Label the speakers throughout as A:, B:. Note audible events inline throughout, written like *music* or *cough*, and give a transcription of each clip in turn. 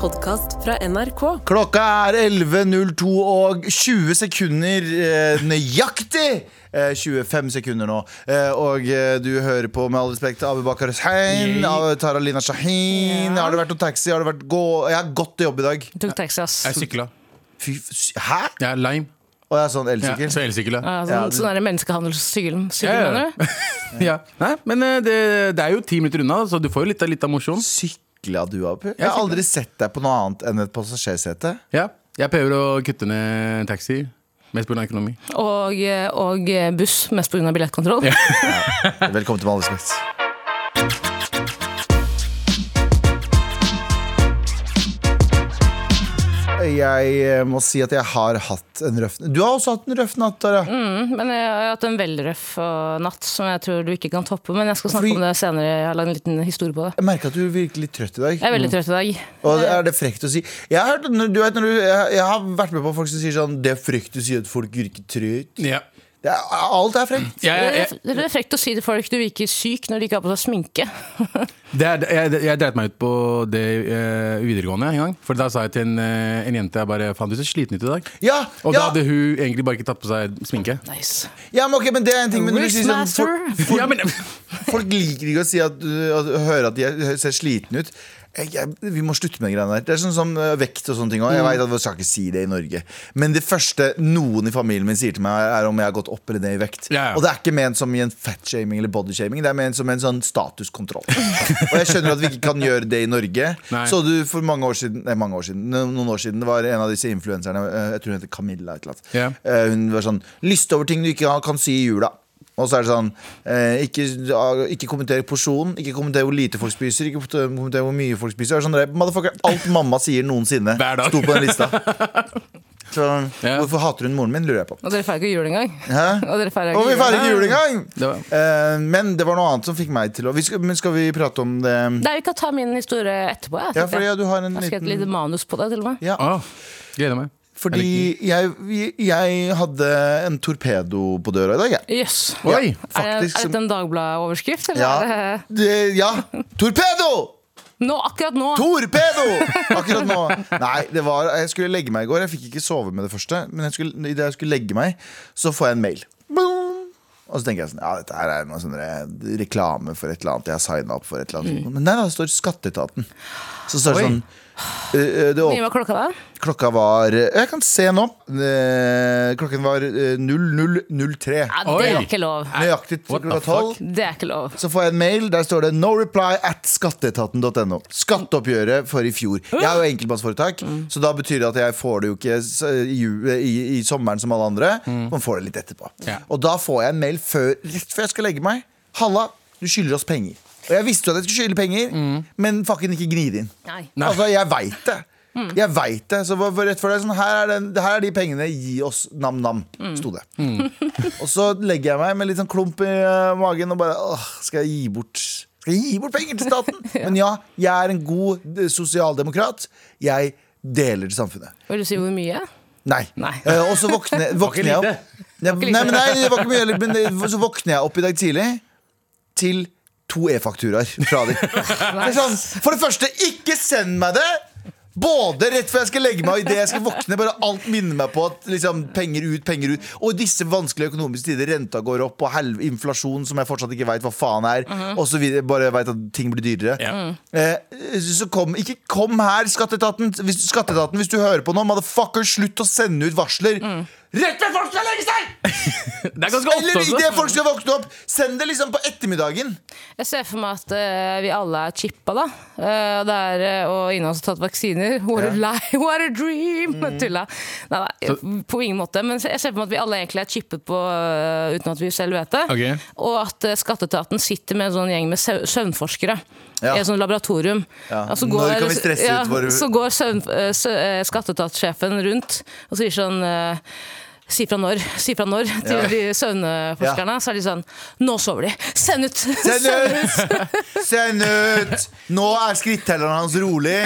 A: podkast fra NRK.
B: Klokka er 11.02 og 20 sekunder eh, nøyaktig. Eh, 25 sekunder nå. Eh, og eh, du hører på med all respekt Abu Bakar Hussein, Ab- Tara Lina Shahin. Har det vært noe taxi? Har det vært gå Jeg har gått til jobb i dag.
C: Tok taxi, ass.
D: Jeg sykla.
B: Fy, f- s- hæ?
D: Jeg er lime.
B: Og jeg er sånn
D: Ja,
B: elsykkel.
D: så jeg elsykla.
C: Ja, sånn,
B: Ja, det-
C: sånn er det menneskehandelssylen. Sylen,
D: Ja, ja.
C: mener du?
D: *laughs* Ja. Nei, men eh, det, det er jo ti minutter unna, så du får jo litt av, litt av mosjon.
B: Sykla du, Abu? Jeg har
D: sykla.
B: aldri sett deg på noe annet enn et passasjersete.
D: Ja. Jeg prøver å kutte ned en taxi. Mest pga. økonomi.
C: Og, og eh, buss, mest pga. billettkontroll.
D: Ja.
B: Velkommen til Med all respekt. Jeg eh, må si at jeg har hatt en røff Du har også hatt en røff natt, Tara.
C: *laughs*
D: Mm.
C: Men jeg har hatt en veldig røff eh, natt som jeg tror du ikke kan toppe. Men jeg skal snakke
B: Fordi-
C: om det senere. Jeg har lagd en liten historie på det.
B: Jeg merker at du virker litt trøtt i dag.
C: Jeg er veldig trøtt i dag.
B: Og er det frekt å si Jeg har, hørt, du vet, når du, jeg, jeg har vært med på folk som sier sånn Det er frekt å si at folk virker trøtt.
D: Ja.
B: Det er, alt er
D: *laughs*
B: frekt.
D: Jeg,
C: Det
D: jeg,
C: er- det er frekt å si til folk du virker syk når de ikke har på seg sminke.
D: Det er, jeg, jeg dreit meg ut på det eh, videregående en gang. For da sa jeg til en, eh, en jente jeg bare Faen, du ser sliten ut i dag.
B: Ja,
D: Og da
B: ja,
D: hadde hun egentlig bare ikke tatt på seg sminke.
C: Nice.
B: ja men, ok, men det er en ting. Men når du sier sånn,
C: Wishmaster.
B: folk,
D: Ja, men,
B: Folk liker ikke å si at, at høre at de er- ser slitne ut. Jeg, jeg, vi må slutte med de greiene der. Det er sånn som eh, vekt og sånne ting
D: Mm.
B: også. Jeg vet at vi skal ikke si det i Norge. Men det første noen i familien min sier til meg, er om jeg har gått opp eller ned i vekt.
D: Ja, ja.
B: Og det er ikke ment som i en fatshaming eller bodyshaming. Det er ment som en sånn
D: *laughs*
B: statuskontroll. og jeg skjønner at vi ikke kan gjøre det i Norge.
D: Nei.
B: Så du for mange år siden, nei, mange år siden no- noen år siden, det var en av disse influenserne, eh, jeg tror hun heter Camilla et eller annet.
D: Ja.
B: Eh, Hun var sånn Liste over ting du ikke har- kan si i jula. Og så er det sånn eh, ikke, ja, ikke kommenter porsjonen, ikke kommenter hvor lite folk spiser, ikke kommenter hvor mye folk spiser. Det er Sånn, der, motherfucker, alt mamma sier noensinne,
D: Hver dag.
B: sto på den
D: *laughs*
B: lista. Så
D: Ja.
B: hvorfor hater hun moren min, lurer jeg på.
C: Og dere feirer ikke jul engang. *laughs*
B: Hæ?
C: Og dere feirer
B: Og vi feirer ikke jul
C: Nei.
B: engang!
D: Det var-
B: Eh, men det var noe annet som fikk meg til å vi skal, Men skal vi prate om det?
C: Nei, vi kan ta min historie etterpå. Jeg,
B: Ja,
C: tenker
B: for ja,
C: jeg.
B: du har en
C: jeg har skrevet et
B: liten
C: lite manus på det, til og med.
B: ja.
D: Å, gleder meg.
B: Fordi jeg, jeg hadde en torpedo på døra i dag, jeg.
C: Jøss. Yes.
D: Oi!
C: Er, det-
B: faktisk
C: er
B: som-
C: dette en Dagbladet-overskrift? eller er
B: Ja.
C: det-
B: Det, ja. Torpedo!
C: Nå, akkurat nå!
B: Torpedo! Akkurat nå. Nei, det var, jeg skulle legge meg i går. Jeg fikk ikke sove med det første. Men jeg skulle, i det jeg skulle legge meg, så får jeg en mail. Boom! Og så tenker jeg sånn, ja, dette her er noe sånn re- reklame for et eller annet. Jeg har signa opp for et eller annet. Men nei da, det står Skatteetaten. Så står det
D: Oi.
B: sånn eh, eh, det
C: Mye
B: åp
C: var klokka da?
B: Klokka var eh, Jeg kan se nå. Eh, Klokken var eh, 00.03.
C: Ja,
D: Oi.
C: det er ikke lov.
B: Nøyaktig
D: What the
B: klokka tolv.
D: fuck?
C: Det er ikke lov.
B: Så får jeg en mail, der står det No reply at skatteetaten.no Skatteoppgjøret for i fjor Jeg er jo enkeltmannsforetak, så da betyr det at jeg får det jo ikke s- i, ju- i, i sommeren som alle andre Man får det litt etterpå
D: Ja.
B: Og da får jeg en mail før, rett før jeg skal legge meg Halla, du skylder oss penger Og jeg visste jo at jeg skulle skylde penger Men fucking ikke gni det inn
C: Nei.
D: Nei.
B: Altså, jeg veit det. Jeg vet det, så hva- hva- rett for det, er sånn, her, er den, her er de pengene, gi oss nam-nam, sto det. *laughs* og så legger jeg meg med litt sånn klump i eh, magen og bare åh, skal jeg gi bort Skal jeg gi bort penger til staten? Men ja, jeg er en god eh, sosialdemokrat. Jeg deler til samfunnet.
C: Vil du si hvor mye?
B: Nei.
C: Nei.
B: Eh, og så våkner, våkner jeg opp Nei,
C: ikke
B: nei,
C: lite.
B: men nei, det var ikke mye heller, men det- Så våkner jeg opp i dag tidlig Til to e-fakturaer fra *laughs* dem Det er sånn, For det første, ikke send meg det både rett før jeg skal legge meg og i det jeg skal våkne Bare alt minner meg på at liksom, penger ut, penger ut Og i disse vanskelige økonomiske tider Renta går opp og helv, inflasjon som jeg fortsatt ikke vet hva faen er Og så videre, bare vet at ting blir dyrere
D: Ja.
B: Eh, så kom, ikke kom her, skatteetaten hvis, skatteetaten, hvis du hører på nå, motherfucker, slutt å sende ut varsler. Rett før folk skal legge seg!
D: Det er ganske ofte
B: Eller
D: også.
B: idet folk skal våkne opp. Send det liksom på ettermiddagen.
C: Jeg ser for meg at eh, vi alle er chippa, da. Eh, og det er, eh, og ingen av oss har tatt vaksiner. *laughs* What a lie, what a dream!
B: Mm.
C: *laughs* Tulla. Nei, nei, på ingen måte. Men jeg ser for meg at vi alle egentlig er chippet på eh, uten at vi selv vet det.
D: Ok.
C: Og at eh, skatteetaten sitter med en sånn gjeng med søv- søvnforskere.
B: Ja.
C: I et sånt laboratorium.
B: Ja.
C: Og så
B: Når kan vi stresse ut våre-
C: Så går søvn, eh, sø- eh, skatteetatssjefen rundt og sier sånn eh, Si fra når, si fra når til
B: Ja.
C: de søvneforskerne. Så er de sånn Nå sover de! *laughs* Send ut!
B: Send ut! *laughs* Send ut! Nå er skrittelleren hans rolig.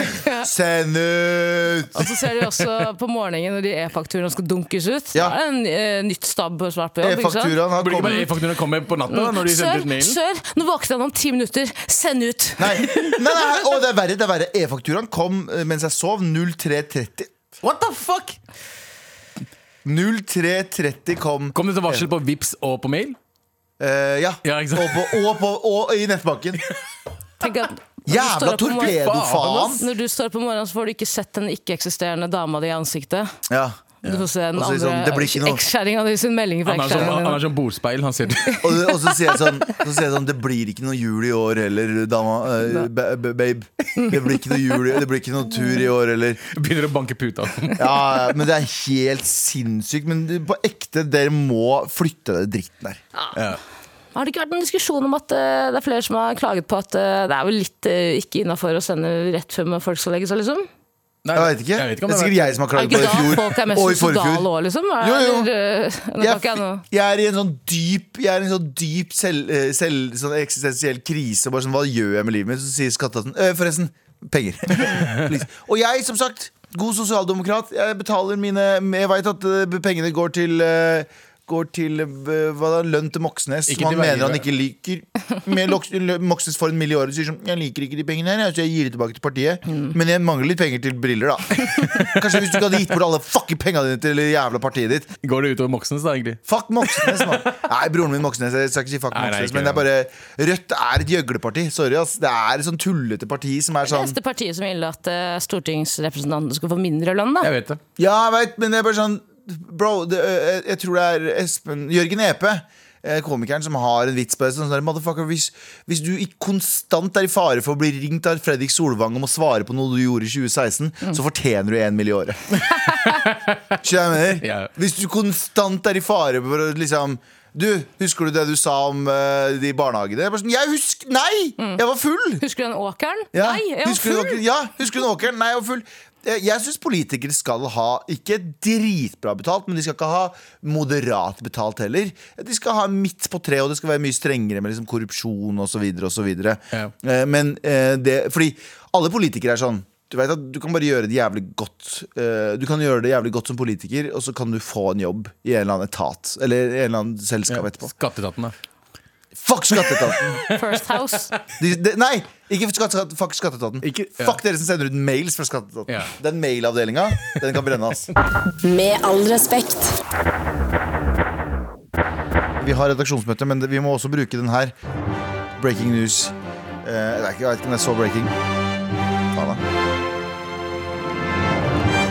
B: Send ut!
C: Og så ser de også på morgenen når de e-fakturene skal dunkes ut.
B: Ja.
C: Da er det en eh, nytt stab svart på jobb. ikke sant?
B: E-fakturaen har
D: Burde ikke bare
B: kommet.
D: e-fakturene komme på natta da, når de sendte
C: Sør,
D: ut mailen?
C: sør, nå våkner han om ti minutter. Send ut!
B: Nei, nei, nei, å, det er verre. det er verre E-fakturaen kom eh, mens jeg sov. 03.30.
D: What the fuck?
B: 03.30 kom.
D: Kom det til varsel på Vips og på mail?
B: eh, ja.
D: Ja, ikke sant?
B: Og, på, og, på, og i nettbanken.
C: Tenk at når du står
B: Jævla
C: opp om morgenen-
B: torpedofaen!
C: Når du står opp om morgenen, så får du ikke sett den ikke-eksisterende dama di i ansiktet.
B: Ja.
C: Du får se den
B: Og så er det sånn, det
C: andre
B: blir ikke noe.
C: ekskjæringa di sin melding fra
D: Han er som,
C: ekskjæringen
D: han
C: din.
D: er som bordspeil. Han ser
B: Og, og så sier jeg sånn, så sier jeg sånn Det blir ikke noe jul i år heller, dama. eh, ba- ba- babe. Det blir ikke noe jul i- Det blir ikke noe tur i år heller.
D: *laughs* begynner å banke *laughs* puta.
B: Ja, ja, men det er helt sinnssykt. Men du- på ekte, dere må flytte den dritten der.
D: Ja.
C: Har det ikke vært en diskusjon om at eh, det er flere som har klaget på at eh, det er vel litt eh, ikke innafor å sende rett før folk skal legge seg, liksom?
D: Nei,
B: Jeg vet ikke.
D: jeg vet
B: det er
D: om det
B: sikkert jeg som har
C: Er
B: klaget på
C: det
B: det i
C: ikke da
B: fjor.
C: folk er mest
B: Og i
C: sodale
B: forfjor.
C: òg, liksom? Er,
B: Jo, jo.
C: Eller, eh, nå kan
B: Jeg,
C: ikke jeg noe.
B: jeg er i en sånn dyp Jeg er i en sånn dyp selv, eh, selv, sånn eksistensiell krise. Og bare sånn, Hva gjør jeg med livet mitt? Så sier skatteetaten «Øh, forresten, penger. *laughs* Please. og jeg, som sagt, god sosialdemokrat. Jeg betaler mine Jeg veit at eh, pengene går til eh, Går til eh, hva da, lønn til Moxnes,
D: Ikke
B: som han
D: til
B: mener han
D: veier.
B: ikke liker. Men Lox- Lø- Moxnes får en mild i året og sier sånn Jeg liker ikke de pengene her, jeg, så jeg gir det tilbake til partiet.
C: Mm.
B: Men jeg mangler litt penger til
C: *laughs*
B: briller, da. Kanskje hvis du ikke hadde gitt bort alle fucking pengene dine til det jævla partiet ditt.
D: Går det utover Moxnes, da, egentlig?
B: Fuck Moxnes, mann. Nei, broren min Moxnes. Jeg skal ikke si fuck
D: Nei, nei,
B: Moxnes,
D: ikke
B: men det er bare Rødt er et gjøgleparti. Sorry, ass. Det er et sånn tullete parti som er sånn
C: Neste partiet som ville at eh, stortingsrepresentantene skulle få mindre lønn, da.
D: Jeg vet det.
B: Ja, jeg veit, men det er bare sånn Bro, det, øh, jeg tror det er Espen Jørgen Epe. eh, Komikeren som har en vits på det. Sånn der, Motherfucker, hvis, hvis du ikke konstant er i fare for å bli ringt av Fredrik Solvang om å svare på noe du gjorde i 2016, så fortjener du én mill. i året. Skjønner du hva jeg mener?
D: Ja.
B: Hvis du konstant er i fare for å liksom Du, husker du det du sa om eh, de barnehagene? Jeg er bare sånn, jeg husker Nei! Jeg var full!
C: Husker du den åkeren?
B: Ja.
C: Nei, jeg var
B: husker du
C: full!
B: åkeren? Ja, husker du den åkeren? Nei, jeg var full. Jeg, jeg syns politikere skal ha ikke dritbra betalt, men de skal ikke ha moderat betalt heller. De skal ha midt på tre, og det skal være mye strengere med liksom korrupsjon osv.
D: Ja.
B: Eh, men eh, det Fordi alle politikere er sånn. Du vet at du kan bare gjøre det jævlig godt eh, Du kan gjøre det jævlig godt som politiker, og så kan du få en jobb i en eller annen etat eller i en eller annen selskap etterpå.
D: Skatteetaten, da.
B: Fuck skatteetaten!
C: First
B: *laughs*
C: House.
B: De, de, nei, ikke skatt, skatt, fuck skatteetaten.
D: Ikke- ja.
B: Fuck dere som sender ut mails fra skatteetaten.
D: Ja.
B: Den mailavdelinga, den kan brennes.
A: Med all respekt.
B: Vi har redaksjonsmøte, men vi må også bruke den her. Breaking news. Eh, det er ikke, jeg vet ikke om det er så breaking. Faen, da.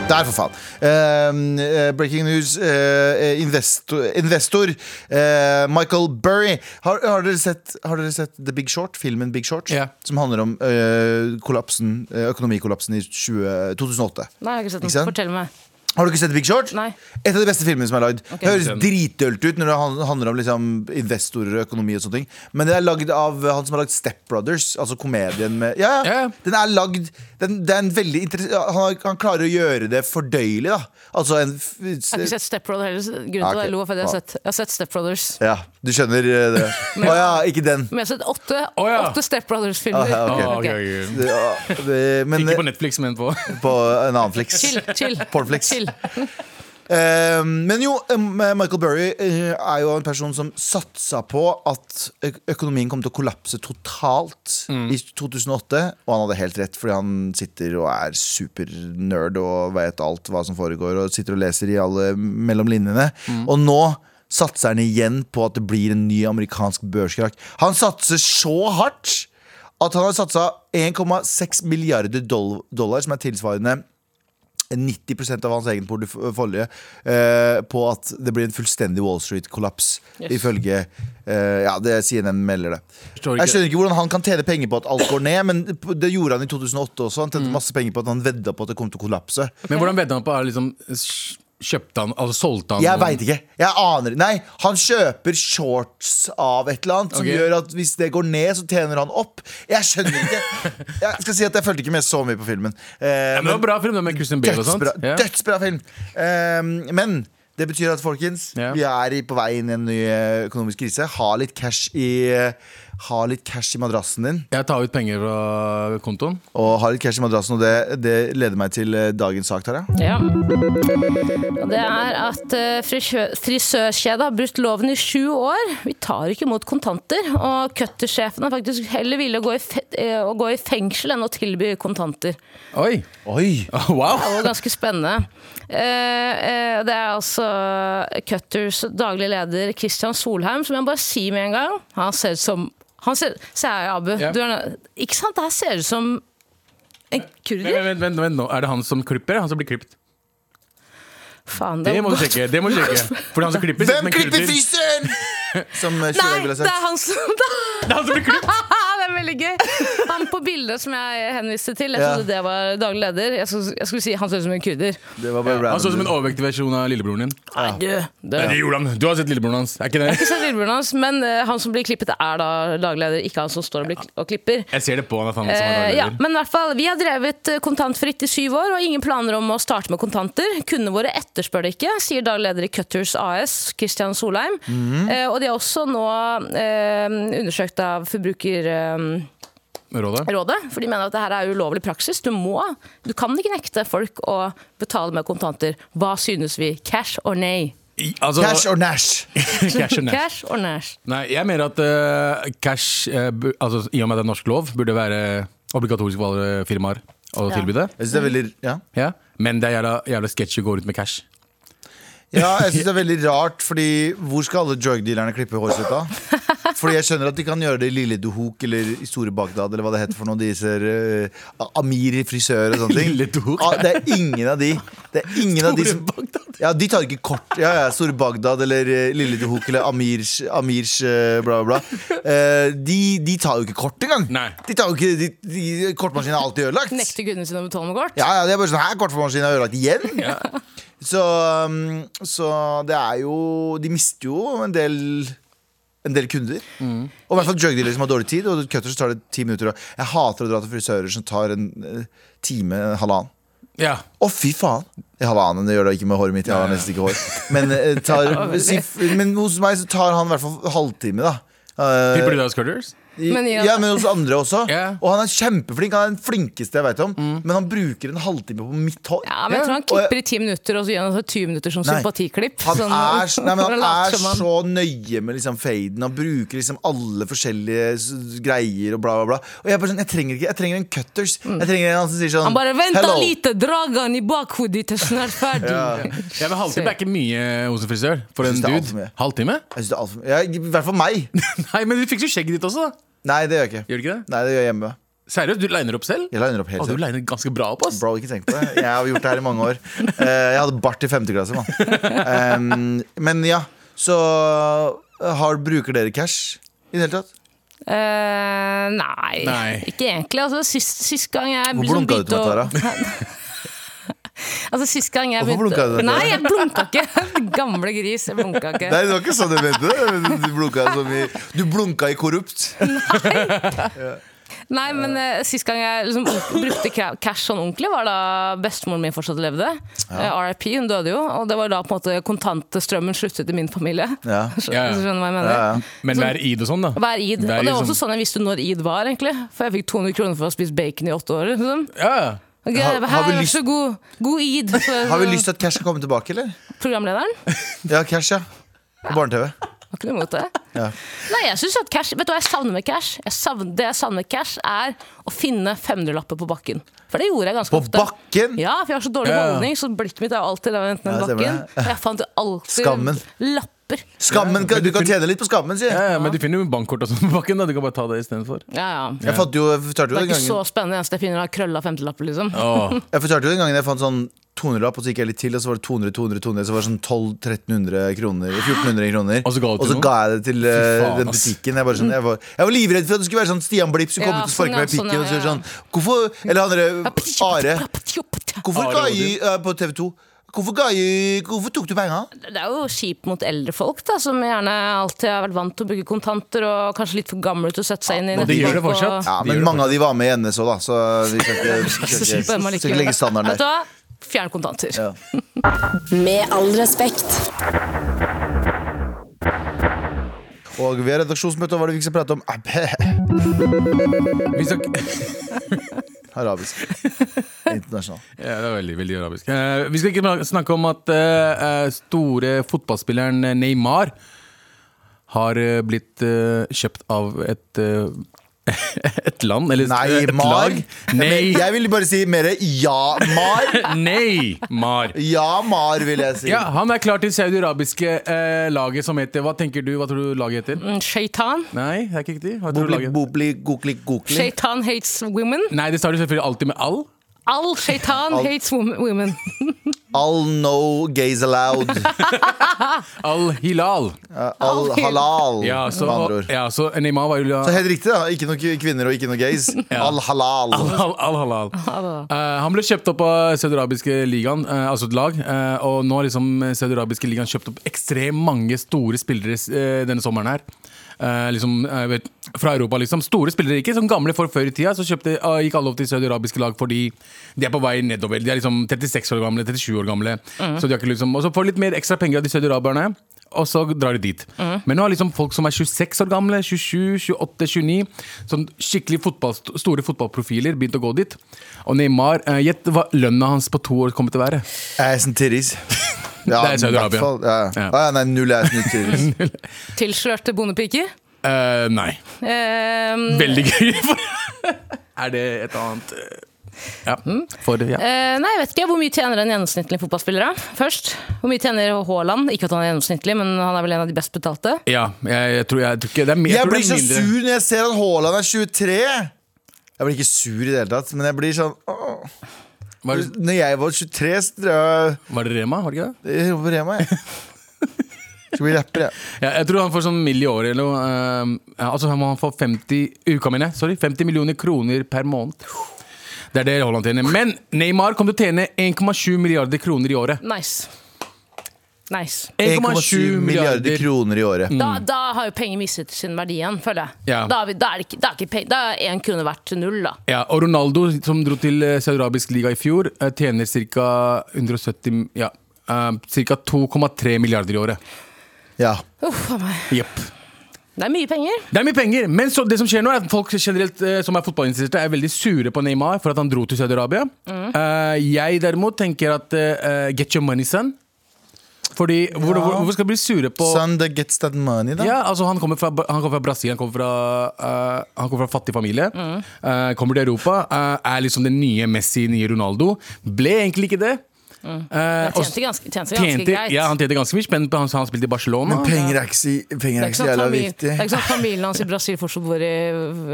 B: Der, for faen. Eh, eh, breaking news. eh, eh, investor investor eh, Michael Burry. Har, har, dere sett, har dere sett The Big Short? Filmen Big Short?
D: Ja.
B: Som handler om eh, kollapsen, eh, økonomikollapsen i 20, 2008.
C: Nei, jeg har ikke sett
B: Ikke
C: den.
B: sant?
C: Fortell meg.
B: Har du ikke sett Big Short?
C: Nei.
B: Et av de beste filmene som er lagd.
C: Ok.
B: Høres dritdølt ut når det han- handler om liksom investorer og økonomi. og sånne ting Men det er lagd av eh, han som har lagd Step Brothers, altså komedien med Ja, ja.
D: Ja, ja.
B: Den er lagd den, det er en veldig interess- han, har- han klarer å gjøre det fordøyelig, da. Altså en f-
C: Jeg har ikke sett Step Brother heller. så Grunnen til
B: Ja,
C: at
B: Ah, ok.
C: jeg lo, er fordi jeg har
B: Ja.
C: sett, jeg har sett Step Brothers.
B: Ja, du skjønner eh,
C: *laughs*
B: det. Å ja, ikke den.
C: Men jeg har sett åtte,
D: Å, ja.
C: åtte Step
B: Ah,
C: Brothers-filmer.
B: ja, ok.
D: Å,
C: Ok.
D: ok, ok.
B: Det, ja, det, men eh,
D: Ikke på Netflix, men på *laughs*
B: på en annen flex.
C: Chill,
B: *laughs*
C: chill.
B: Pornflix.
C: chill.
B: Eh, men jo, eh, Michael Burry eh, er jo en person som satsa på at ø- økonomien kom til å kollapse totalt i 2008. Og han hadde helt rett, fordi han sitter og er supernerd og vet alt hva som foregår. Og sitter og leser i alle mellom linjene. Og nå satser han igjen på at det blir en ny amerikansk børskrakk. Han satser så hardt at han har satsa 1,6 milliarder doll- dollar, som er tilsvarende 90 av hans egen portefølje eh, på at det blir en fullstendig Wall Street-kollaps.
C: Yes.
B: Ifølge eh, Ja, det CNN melder det.
D: Forstår ikke.
B: Jeg skjønner ikke hvordan han kan tjene penger på at alt går ned, men det gjorde han i 2008 også. Han
D: Mm.
B: tjente masse penger på at han vedda på at det kom til å kollapse.
D: Men hvordan vedda han på? Er det liksom Kjøpte han, altså solgte han
B: Jeg veit ikke. Jeg aner Nei, han kjøper shorts av et eller annet som
D: Ok.
B: gjør at hvis det går ned, så tjener han opp. Jeg skjønner
D: *laughs*
B: ikke. Jeg skal si at jeg fulgte ikke med så mye på filmen. Eh,
D: Ja, men det var bra film det med Christian Bale og sånt
B: Dødsbra,
D: Ja.
B: dødsbra film. Ehm, men Det betyr at folkens,
D: Ja.
B: vi er i- på vei inn i en ny eh, økonomisk krise. Ha litt cash i, eh, ha litt cash i madrassen din.
D: Jeg tar ut penger fra kontoen.
B: Og ha litt cash i madrassen, og det, det leder meg til eh, dagens sak, Tara.
C: Ja. Og det er at eh, frisø- frisørkjedet har brutt loven i sju år. Vi tar ikke imot kontanter. Og cuttersjefen er faktisk heller villig å gå, i fe eh, å gå i fengsel enn å tilby kontanter.
D: Oi!
B: Oi!
D: *laughs* Wow!
C: Det var ganske spennende. Eh, eh, Det er altså Cutters daglig leder Christian Solheim, som jeg bare sier med en gang Han ser ut som han ser, Se her, Abu.
D: Ja.
C: Du er, ikke sant? Det her ser ut som en kurder.
D: Vent, vent, vent nå. Er det han som klipper? Han som blir klippet?
C: Faen,
D: Det
C: det
D: må du sjekke. det må du
B: *laughs*
D: sjekke For han som klipper, ser ut som
B: Hvem
D: en
B: klipper
D: kurder.
B: frisøren?! Som eh,
C: Nei,
B: Kjølag ville
C: det er
B: sagt.
C: han som *laughs* det er
D: Det er han som blir klippet!
C: Det er veldig gøy. Han på bildet som jeg henviste til, jeg
B: Ja.
C: trodde det var daglig leder. Jeg skulle, jeg skulle si han ser ut som en kurder.
B: Det var bare
D: Han så ut Altså, som en
B: random.
D: overvektig versjon av lillebroren din.
C: Nei, du. Det
D: Nei,
C: er
D: det gjorde han. Du har sett lillebroren hans. Er ikke det?
C: ikke så lillebroren hans, men eh, han som blir klippet, er da daglig leder, ikke han som står og, blir, kli- og klipper.
D: Jeg ser det på han at han også var
C: Eh,
D: daglig
C: ja,
D: leder.
C: men i hvert fall, Vi har drevet eh, kontantfritt i syv år og har ingen planer om å starte med kontanter. Kundene våre etterspør det ikke, sier daglig leder i Cutters AS, Christian Solheim.
B: Mhm.
C: Eh, og de har også nå eh, undersøkt av Forbrukerrådet,
D: Rådet?
C: for de mener at det her er ulovlig praksis. Du må, du kan ikke nekte folk å betale med kontanter. Hva synes vi? Cash or nei?
D: I- Altså,
B: Cash or Nash?
D: *laughs*
C: *laughs*
D: cash or net.
C: Cash or nash?
D: Nei, jeg mener at eh, cash, eh, bu- altså, i og med at det er norsk lov, burde være obligatorisk for alle firmaer å
C: Ja.
D: tilby det.
B: Jeg synes det er veldig Ja,
D: Ja. Men det er jævla, jævla sketchy å gå rundt med cash.
B: ja jeg synes det er veldig rart, fordi hvor skal alle drugdealerne klippe håret sitt da? Fordi jeg skjønner at de kan gjøre det i Lille Duhok eller i Store Bagdad eller hva det heter for noen Diser eh, Amir i frisør og sånne ting.
D: Lille Duhok?
B: Ja, det er ingen av de. Det er ingen av de som Ja, de tar ikke kort. Ja, ja, Store Bagdad eller eh, Lille Duhok eller Amirs, Amirs eh, bla, bla, bla. Eh, de, de tar jo ikke kort engang.
D: Nei.
B: De tar jo ikke, de, de, kortmaskinen er alltid ødelagt.
C: Nekter kundene sine å betale med kort?
B: Ja, ja, det er bare sånn Her, kortformaskinen er ødelagt igjen så, um, så det er jo De mister jo en del en del kunder. Og i hvert fall drugdealere som har dårlig tid. Og cutters tar det ti minutter. og Jeg hater å dra til frisører som tar en eh, time, en halvannen.
D: Ja.
B: Å, fy faen! I halvannen, det gjør det ikke med håret mitt. Jeg har nesten ikke hår. Men, eh, tar, si, men hos meg så tar han i hvert fall halvtime, da. Eh,
D: Klipper du deg av scutters?
B: i-
C: Men ja.
B: ja, men hos andre også.
D: Ja. Mm.
B: Og han er kjempeflink. Han er den flinkeste jeg vet om. Men han bruker en halvtime på mitt hår.
C: Ja, men jeg tror han
B: Og jeg-
C: klipper i ti minutter, og så gjør han altså 20 minutter som
B: Nei.
C: sympatiklipp.
B: Han
C: Sånn-
B: er, s- nei, men han
C: *laughs* later
B: er
C: som han-
B: så nøye med liksom faden. Han bruker liksom alle forskjellige s- greier og bla, bla, bla. Og jeg, er bare sånn, jeg trenger ikke Jeg trenger en cutters. Jeg trenger en som sier sånn
C: Mm. Han bare 'venta
B: «Hello».
C: lite, dragan i bakhodet ditt er snart ferdig'.
D: Ja, men Halvtime er ikke mye eh, hos en frisør. For
B: Jeg synes
D: en
B: det er alt for
D: dude.
B: mye.
D: Halvtime? *laughs*
B: Jeg synes det er alt for, ja, I hvert fall meg.
D: Nei, men du fikser jo skjegget ditt også, da.
B: Nei, det gjør jeg ikke.
D: Gjør du ikke det?
B: Nei, det gjør jeg hjemme.
D: Seriøst, du liner opp selv?
B: Jeg liner opp
D: Å,
B: helt
D: du
B: selv.
D: liner ganske bra opp, ass.
B: Bro, ikke tenk på det. Jeg har gjort det her i mange år. Eh, Jeg hadde bart i femte klasse, mann. Um, men ja, så eh, har, bruker dere cash i det hele tatt?
C: *laughs* Eh, nei.
D: Nei.
C: ikke egentlig. Altså, sist, sist gang jeg liksom
B: Hvor blunka du til meg, Tara?
C: Altså, sist gang jeg
B: Hvorfor blunka du til meg,
C: Nei,
B: Tara?
C: jeg blunka ikke! *laughs* Gamle gris, jeg blunka ikke.
B: Nei, det var ikke sånn jeg mente det. Du blunka, som i, du blunka i korrupt.
C: Nei, men eh, sist gang jeg liksom brukte ca- cash sånn ordentlig, var da bestemoren min fortsatt levde. Eh, RIP, hun døde jo. Og det var da på en måte kontantstrømmen sluttet i min familie. *laughs*
B: Ja.
C: Skjø-
D: Ja, ja.
C: Skjønner du hva jeg mener?
B: Ja, ja.
D: Men hver id og sånn, da.
C: Hver id.
D: Hver
C: og det var
D: sånn-
C: også sånn jeg visste når id var, egentlig. For jeg fikk 200 kroner for å ha spist bacon i åtte år. Liksom.
D: Ja, ja.
C: Ok,
B: Har-
C: jeg bare,
B: har vi
C: her, vær
B: lyst-
C: så god, god id. Så,
B: Har vi lyst til at Cash skal komme tilbake, eller?
C: Programlederen?
B: Ja, Cash, ja. På barne-TV.
C: Har ikke noe imot det.
B: Ja.
C: Nei, jeg synes at cash, Vet du hva jeg savner med cash? Jeg savner, det jeg savner med cash, er å finne 500-lapper på bakken. For det gjorde jeg ganske
B: På
C: ofte.
B: bakken!
C: Ja, for jeg har så dårlig
D: Ja.
C: holdning, så blikket mitt er jo alltid lavt enten
B: Ja,
C: den
B: stemmer
C: bakken.
B: det.
C: Og jeg fant jo alltid
B: Skammen.
C: lapper.
B: Skammen, kan- Du kan tjene litt på skammen, sier
D: Ja,
B: jeg.
D: ja, men du finner jo bankkort og sånn på bakken. da Du kan bare ta det istedenfor.
C: Ja, ja.
B: Jeg fant jo, jeg fortalte
C: Det
B: jo
C: er
B: den
C: ikke så
B: gangen
C: spennende, det eneste jeg finner, er krølla 50-lapper, liksom.
D: Oh.
B: jeg, fortalte jo den gangen jeg fant sånn 200-lapp, og så gikk jeg litt til, og så var det 200, 200, 200, så var det sånn 1200-1300 kroner. 1400 kroner.
D: Og så ga du til noen?
B: ga jeg det til eh,
D: Fy faen,
B: den
D: ass.
B: butikken. Jeg, bare sånn, jeg, var, jeg var livredd for at det skulle være sånn Stian Blipp som kom
C: Ja,
B: ut og sparket
C: sånn,
B: meg i
C: ja,
B: pikken
C: sånn,
B: og sier
C: ja,
B: sånn Hvorfor Eller han derre Are. Hvorfor
D: Are
B: ga jeg eh, på TV 2? Hvorfor, ga jeg, hvorfor tok du penga?
C: Det er jo kjipt mot eldre folk, da, som gjerne alltid har vært vant til å bruke kontanter, og kanskje litt for gamle til å sette seg inn i
D: og de gjør det
C: nettbank og-
D: fortsatt.
B: Ja,
D: De gjør
B: men
D: det
B: mange av de var med i NSO, da, så vi skal ikke, vi skal
D: *laughs*
C: Så
B: ikke,
C: slipper man
B: skal
C: ikke.
B: ikke legge standarden
C: Vet du
B: der.
C: hva? Fjern kontanter.
B: Ja.
A: Med all respekt.
B: Og vi har redaksjonsmøte, og hva er det vi skal prate om? Ah,
D: *laughs* Vi skal...
B: *laughs* Arabisk. Internasjonal.
D: *laughs* Ja, det er veldig, veldig arabisk. Eh, vi skal ikke snakke om at eh, eh, store fotballspilleren eh, Neymar har eh, blitt eh, kjøpt av et eh, *laughs* et land, eller
B: Nei,
D: et
B: Mar.
D: lag.
B: Men
D: Nei,
B: *laughs*
D: *laughs*
B: Jeg vil bare si mer ja-mar.
D: nei, Mar.
B: Ja-mar, vil jeg si.
D: Ja, han er klar til saudiarabiske eh, laget som heter Hva tenker du, hva tror du laget heter?
C: Mm, Shaitan.
D: Nei, det er ikke riktig. Hva tror du
B: Bobli,
D: laget?
B: bobli, gokli, gokli.
C: Shaitan hates women.
D: Nei, det starter selvfølgelig alltid med all.
C: All shaitan
B: All-
C: hates wom- women.
B: All no gays
D: *laughs*
B: allowed.
D: Al Hilal.
B: Uh, All halal,
D: Ja, så,
B: med andre ord.
D: ja, så Neymar var jo
B: Så helt riktig, da. Ikke noen kvinner og ikke noen
D: *laughs*
B: gays. All halal.
D: Al- Al Halal. Eh, han ble kjøpt opp av saudiarabiske ligaen, eh, altså et lag. eh, og nå har liksom eh, saudiarabiske ligaen kjøpt opp ekstremt mange store spillere eh, denne sommeren her. Eh, liksom, eh, vet, fra Europa, liksom. Store spillere, ikke som gamle folk før i tida. Så kjøpte, eh, gikk alle opp til saudiarabiske lag fordi de er på vei nedover. De er liksom 36 år gamle, 37 år gamle. Så de har ikke liksom, og så får de litt mer ekstra penger av de saudiaraberne. Og så drar de dit.
B: Mm.
D: Men nå har liksom folk som er 26 år gamle, 27, 28, 29, sånn skikkelig fotball, store fotballprofiler, begynt å gå dit. Og Neymar, eh, gjett hva lønna hans på to år kommer til å være.
B: Ass and
D: *laughs*
B: titties. Ja,
D: Det er Saudi-Arabia.
B: i hvert fall, Ja.
D: Ja.
B: Ah, ja, nei, null ass and
D: *laughs*
B: titties.
C: Tilslørte bondepiker.
D: Eh, nei.
C: Ehm,
D: Veldig
B: *laughs*
D: gøy. er det et annet eh, Ja.
B: Mm.
D: For, ja.
C: eh, nei, jeg vet ikke. Hvor mye tjener en gjennomsnittlig fotballspiller, da? Først. Hvor mye tjener Haaland? Ikke at han er gjennomsnittlig, men han er vel en av de best betalte.
D: ja jeg, jeg, tror, jeg tror ikke det er, mer-
B: Jeg
D: tror
B: blir
D: det er
B: så
D: mindre.
B: sur når jeg ser at Haaland er 23. Jeg blir ikke sur i det hele tatt, men jeg blir sånn åh.
D: Var, det-
B: Når jeg var 23, så drev jeg
D: var det Rema? Var det ikke det?
B: jeg jobber på Rema, jeg. Skal bli rapper, jeg.
D: Ja, jeg tror han får sånn mill i året eller noe. eh, ja, altså han må få 50 uka mine, sorry, 50 millioner kroner per måned. Det er det Haaland tjener. Men Neymar kommer til å tjene 1,7 milliarder kroner i året.
C: Nice. Nice.
B: 1,7 milliarder kroner i året.
C: Da, da har jo penger mistet sin verdi igjen, føler jeg.
D: Mm. Ja.
C: Da, er vi, da, er det ikke, da, er ikke pe- da er én krone verdt null, da.
D: Ja, og Ronaldo, som dro til eh, saudiarabisk liga i fjor, eh, tjener ca. 170 Ja, eh, ca. 2,3 milliarder i året.
B: Ja.
C: Uff a meg.
D: Jepp.
C: Det er mye penger.
D: Det er mye penger, men så, det som skjer nå er at folk generelt eh, som er fotballinteresserte, er veldig sure på Neymar for at han dro til Saudi-Arabia.
C: Mm.
D: Eh, jeg derimot tenker at eh, get your money, son. Fordi hvor, hvor, hvorfor skal du bli sure på
B: Son that gets that money, da.
D: ja, altså han kommer, fra, han kommer fra Brasil, han kommer fra, eh, han kommer fra fattig familie.
C: Mm.
D: Eh, kommer til Europa, eh, er liksom den nye Messi, nye Ronaldo. Ble egentlig ikke det. Eh,
C: Mm. Han
D: og-
C: tjente ganske, tjente ganske greit.
D: ja, han tjente ganske mye spenn på han, han spilte i Barcelona.
B: Men penger er ikke så, penger
C: Det
B: er ikke
C: er ikke
B: så
C: sånn
B: jævla
C: at famil-
B: viktig.
C: det er ikke sånn at familien hans i Brasil fortsatt bor i,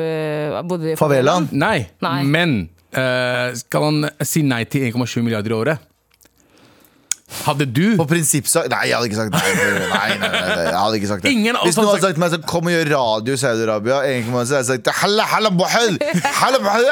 C: øh, bodde i
B: Favelaen.
D: Nei,
C: Nei.
D: men eh, skal han si nei til 1,7 milliarder i året? Hadde du
B: På prinsippsak Nei, jeg hadde ikke sagt nei. nei, nei, nei, nei, jeg hadde ikke sagt det
D: Ingen av oss
B: Hvis noen
D: hadde
B: hadde sagt til meg sånn, Kom og gjør radio i Saudi-Arabia, egentlig må jeg si- jeg hadde sagt Halla, halla, bohel! Halla, bohel!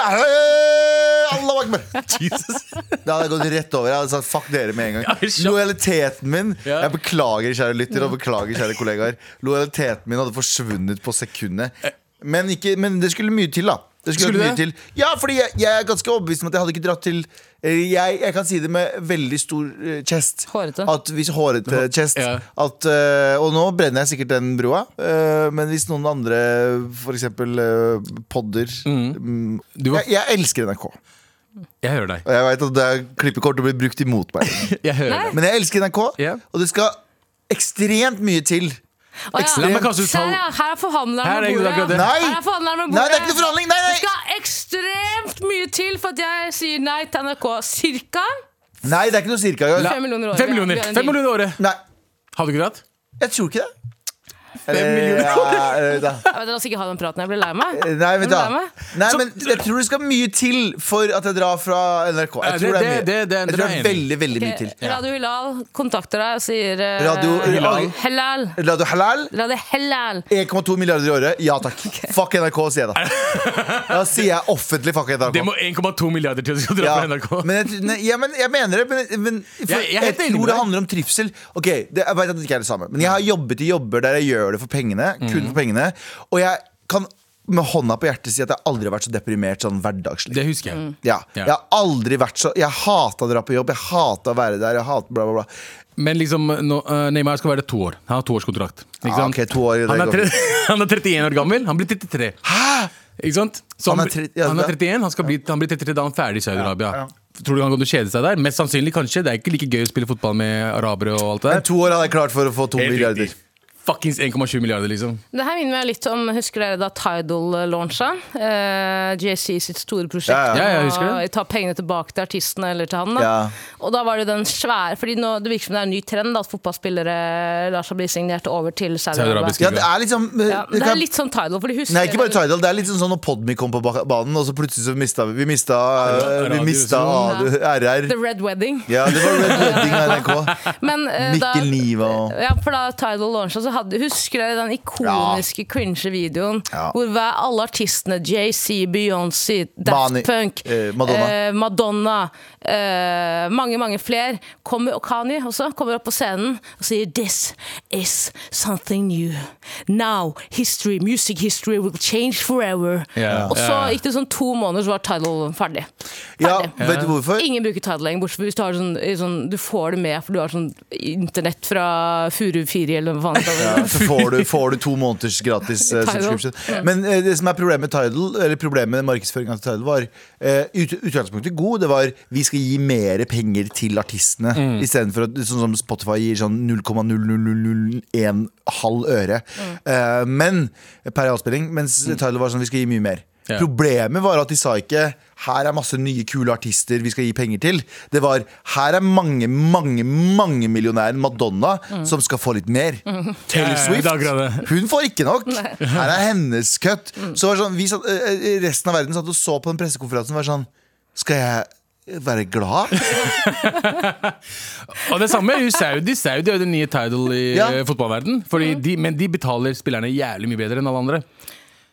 B: Allah akbar!
D: Jesus.
B: Det hadde jeg gått rett over. Jeg hadde sagt fuck dere med en
D: Ja,
B: gang.
D: jeg skjønner.
B: Lojaliteten min
D: Ja.
B: Jeg beklager, kjære lytter og beklager, kjære kollegaer. Lojaliteten min hadde forsvunnet på sekundet. Men, ikke, men det skulle mye til, da. Det skulle,
D: Skulle
B: mye
D: det?
B: til. Ja, fordi jeg, jeg er ganske overbevist om at jeg hadde ikke dratt til eh, jeg, jeg kan si det med veldig stor eh, chest.
C: Hårete.
B: At hvis hårete chest
D: Ja.
B: at, eh, Og nå brenner jeg sikkert den brua, eh, men hvis noen andre f.eks. Uh, podder mm.
D: Du var-
B: jeg, jeg elsker NRK.
D: Jeg hører deg.
B: Og jeg vet at det er klippekort og blir brukt imot meg.
D: *laughs* Jeg hører
C: Nei.
D: deg.
B: Men jeg elsker NRK,
D: Ja.
B: og det skal ekstremt mye til.
C: Å, ja.
D: Ekstremt. La meg kaste ut
C: Se Her,
D: tall.
C: ja. her er
D: Her er
C: forhandleren med
D: det
C: bordet.
D: akkurat det.
C: ja.
B: Nei.
C: Her er forhandleren
B: Nei,
C: med
B: det
C: bordet.
B: er ikke noe forhandling! Nei,
C: Det
B: nei.
C: skal ekstremt mye til for at jeg sier nei til NRK. Cirka
B: nei det er ikke noe cirka. Jeg,
C: Fem millioner i året.
D: Fem
C: Vi har-
D: millioner
C: vi har en deal.
D: Fem millioner i året!
B: nei,
D: Hadde du ikke dratt?
B: jeg tror ikke det. Fem
D: millioner.
B: Ja, eller, da. Eh,
C: Jeg vet, La oss ikke ha den praten. Jeg blir lei meg.
B: Nei, vent da.
C: Hvem er med?
B: Nei, men jeg tror det skal mye til for at jeg drar fra NRK.
D: Ja,
B: Jeg tror det,
D: det-
B: er mye.
D: det- det- det-
B: jeg
D: det
B: tror
D: er
B: det er
D: jeg enig
B: veldig, veldig mye til.
C: Radio Hilal kontakter deg og sier eh,
B: Radio Hilal.
C: Helal.
B: Radio Halal,
C: Radio Helal.
B: 1,2 milliarder i året. Ja takk. Fuck NRK, sier jeg da.
D: *laughs*
B: Da sier jeg offentlig fuck NRK.
D: Det må 1,2 milliarder til å skal dra
B: Ja,
D: på NRK.
B: men jeg, nei, ja, men jeg mener det, men, men for,
D: Jeg- jeg
B: jeg,
D: er helt enig med
B: tror det
D: deg.
B: handler om trivsel. Ok, det, Jeg vet
D: Mhm.
B: at det ikke er det samme, men jeg har jobbet i jobber der jeg gjør det for pengene. Kun for pengene Og jeg kan med hånda på hjertet si at jeg aldri har vært så deprimert sånn hverdagslig.
D: Det husker jeg.
C: Mm.
B: Ja.
D: Ja.
B: Jeg har aldri vært så Jeg hata å dra på jobb, jeg hata å være der, jeg hata bla, bla, bla.
D: Men liksom, nå, eh, Neymar skal være to år. Han har toårskontrakt. Ikke
B: Ah,
D: sant?
B: ok, to år, det
D: han, er
B: går
D: tre, *laughs* han er 31 år gammel. Han blir 33. Ikke sant? Så
B: Han
D: han,
B: er tre-
D: blir-
B: ja,
D: han er
B: det-
D: 31, han, skal bli, han blir 33 da han er ferdig i Saudi-Arabia.
B: Ja, ja.
D: Tror du han kommer til å kjede seg der? Mest sannsynlig kanskje. Det er ikke like gøy å spille fotball med arabere og alt det
B: Men
D: der.
B: to år hadde jeg klart for å få to
D: Helt
B: milliarder.
D: riktig. Fuckings 1,7 milliarder, liksom.
C: Det her minner meg litt om Husker dere da Tidal launcha? Eh, JC sitt store prosjekt.
B: Ja, ja.
D: Ja, ja, jeg husker det.
C: Og Ta pengene tilbake til artisten eller til han. Da.
B: Ja.
C: Og da var det jo den svære Fordi nå, Det virker som det er en ny trend da, at fotballspillere lar seg bli signert over til
D: Saudi-Arabiske.
B: Ja,
C: Saudi-Arabia.
B: det er liksom
C: Ja,
B: det
C: det
B: kan-
C: er litt sånn Tidal. For de husker
B: Nei, ikke bare Tidal. Det er litt sånn sånn når Podme kom på ba- banen, og så plutselig så mista vi Vi mista, eh, vi
D: Radio,
B: mista
C: sånn.
B: AD RR.
C: The Red Wedding.
B: Ja, det var Red Wedding av NRK.
C: Men, eh, da-
B: Mikkel Niva og
C: Ja, for da Tidal launchet, så hadde, husker dere den ikoniske cringe videoen
B: Ja.
C: hvor hver, alle artistene, JC, Beyoncé, Daft
B: Mani-
C: Punk,
B: eh, Madonna.
C: eh, Madonna eh, mange, mange fler, kommer, og Kanye også, kommer opp på scenen og sier This is something new. Now history, music history will change forever.
D: Ja.
C: Og så
D: Ja.
C: gikk det sånn to måneder, så var Tidal ferdig.
B: Ja,
C: Ferdig.
B: vet du hvorfor?
C: Ingen bruker Tidal lenger, bortsett fra hvis du har sånn, i sånn Du får det med, for du har sånn internett fra Furu 4 eller hva faen. det
B: Ja,
C: er.
B: så får du, får du to måneders gratis eh,
C: Tidal.
B: subscription. Men eh, det som er problemet med Tidal, eller problemet med markedsføringa til Tidal, var eh, ut, utgangspunktet god. Det var vi skal gi mer penger til artistene, istedenfor at sånn som Spotify gir sånn 0,00001 halv øre. Eh, men per avspilling. Mens Tidal var sånn vi skal gi mye mer.
D: Ja.
B: Problemet var at de sa ikke her er masse nye kule artister vi skal gi penger til. Det var her er mange, mange, mange millionæren Madonna som skal få litt mer. Taylor
D: Ja, ja,
B: Swift,
D: det er akkurat det.
B: hun får ikke nok. Her er hennes kutt. Så var det sånn, vi satt, eh, eh, resten av verden satt og så på den pressekonferansen og var sånn Skal jeg være
D: *laughs*
B: glad?
D: Og det samme er jo Saudi. Saudi er jo den nye Tidal i
B: Ja.
D: eh, fotballverden Fordi de, Men de betaler spillerne jævlig mye bedre enn alle andre.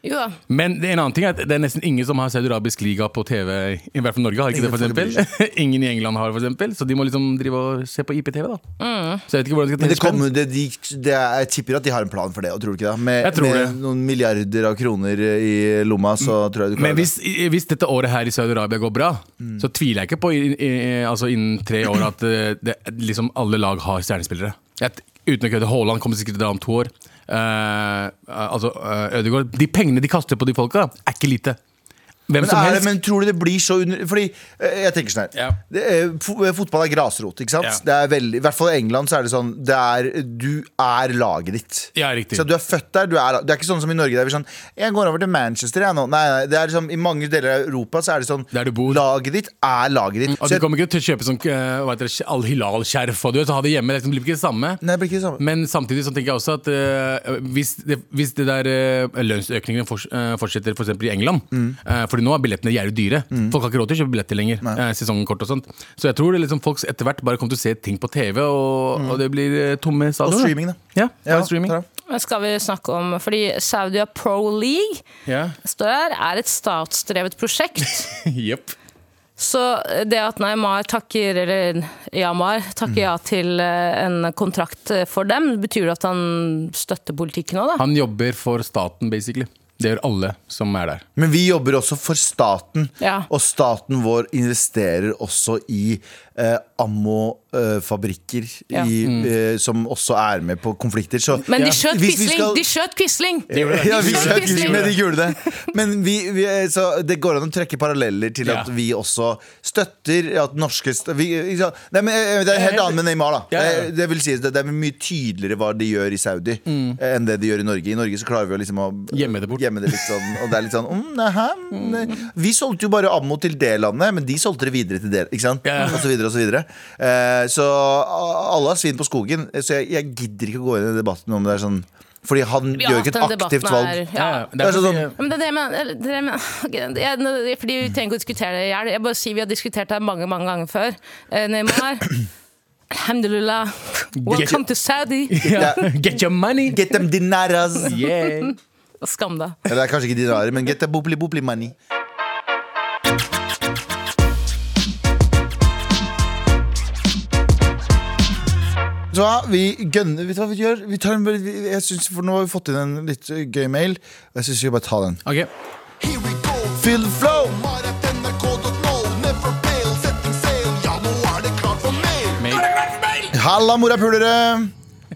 C: Jo da.
D: Men det, en annen ting er at det er nesten ingen som har saudi-arabisk liga på TV. I hvert fall Norge har ikke
B: Ingen
D: det, for
B: folk bryr
D: eksempel. *laughs* Ingen i England har det, for eksempel. Så de må liksom drive og se på IPTV, da. Så jeg vet ikke hvordan de skal
B: Mm. Men det
D: tjene spenn.
B: kommer, det, de, det, er- jeg tipper at de har en plan for det. Og tror du ikke det? Med,
D: Jeg tror
B: med
D: det.
B: noen milliarder av kroner i lomma, så tror jeg du
D: Men
B: klarer det. Mm.
D: hvis, i- hvis dette året her i Saudi-Arabia går bra, så tviler jeg ikke på i, i, altså innen tre år at eh, det, liksom alle lag har stjernespillere. Jeg, uten å kødde, Haaland kommer sikkert til å dra om to år. Eh, altså eh, Ødegaard. De pengene de kaster på de folka, er ikke lite. Hvem
B: Men,
D: som
B: er
D: helst.
B: det, men tror du det blir så under... Fordi eh, jeg tenker sånn her
D: Ja.
B: det, eh, fo- eh, Fotball er grasrot, ikke sant?
D: Ja.
B: Det er veldig, I hvert fall i England så er det sånn det er, Du er laget ditt
D: Ja, riktig.
B: Så du er født der, du er, det er ikke sånn som i Norge Der vi er sånn, jeg går over til Manchester jeg nå Nei, nei, det er liksom, i mange deler av Europa så er det sånn
D: Der du bor. Mm,
B: Laget ditt er laget ditt
D: Og
B: Så
D: du
B: jeg,
D: kommer ikke til å kjøpe sånn eh, hva heter det, al-hilal-skjerf og du vet, ha det hjemme. Det blir ikke det samme.
B: Nei, det blir ikke det samme
D: Men samtidig så tenker jeg også at eh, hvis, det, hvis det der eh, lønnsøkningene fors, eh, fortsetter for eksempel i England eh, Fordi nå er billettene jævlig dyre.
B: Mm.
D: Folk har ikke råd til å kjøpe billetter lenger. eh, sesongkort og sånt. Så jeg tror det liksom folk etter hvert bare kommer til å se ting på TV, og, og det blir eh, tomme
B: Mm. Og
D: stadioner.
B: streaming da
D: Ja, bare
B: Ja,
D: streaming.
B: bra.
C: Men skal vi snakke om Fordi Saudia Pro League
D: Ja. *laughs*
C: står her, er et statsdrevet
B: *laughs*
C: prosjekt.
D: Jepp.
C: Så det at Neymar takker eller Yamar takker
B: Mm.
C: ja til eh, en kontrakt eh, for dem, betyr det at han støtter politikken òg, da?
D: Han jobber for staten, basically. Det gjør alle som er der.
B: Men vi jobber også for staten,
C: Ja.
B: og staten vår investerer også i eh, ammofabrikker
C: Ja.
B: i, eh, som også er med på konflikter. Så
C: Men de skjøt
B: hvis vi
C: Quisling!
B: skal-
C: De skjøt Quisling!
B: ja, vi
C: De skjøt
B: skjøt
C: Quisling.
B: Quisling, men de gjorde det. Men vi, vi, eh, så det går an å trekke paralleller til at
D: Ja.
B: vi også støtter at norske st vi, ikke sant? Nei, men eh, Det er helt annet med Neymar. da Eh,
D: Ja, ja, ja.
B: Det, det vil si at det det er mye tydeligere hva de gjør i Saudi, eh, enn det de gjør i Norge. I Norge så klarer vi å liksom å
D: Mm. Gjemme det bort.
B: Gjemme det litt sånn, og det er litt sånn mm, nei, hæ? Nei. Vi solgte jo bare ammo til det landet, men de solgte det videre til det. Ikke sant?
D: Ja, ja.
B: Og så videre og så videre. Eh, så a- alle har svin på skogen, eh, så jeg, jeg gidder ikke å gå inn i debatten om det er sånn fordi han
C: Vi har
B: gjør ikke
C: hatt
B: et
C: den
B: aktivt
C: debatten
B: valg.
C: her, Ja.
D: Det er
B: Det er
D: sånn,
B: sånn-
C: Ja, Men det er det jeg mener, eller, det er det jeg mener. *laughs* Ok, jeg- nå- jeg- Fordi Vi trenger ikke å diskutere det i hjel. Jeg bare sier Vi har diskutert det her mange mange ganger før. Eh, Neymar,
B: *coughs*
C: alhamdulillah, welcome to Saudi.
D: ja. *laughs* Get your money!
B: Get them dinaras!
D: Yeah.
C: Skam deg.
B: Eller det er kanskje ikke dinarer, men get them bopli bopli money. Så du hva? Vi gønner Vet du hva vi gjør? Vi tar en, vi- jeg synes, for nå har vi fått inn en litt eh, gøy mail. og Jeg syns vi bare tar den.
D: Ok,
E: Here we go.
B: Feel the flow!
E: Maraton.no. Never fail. Setting sail. Ja, nå er det klart for mail.
B: Halla, morapulere!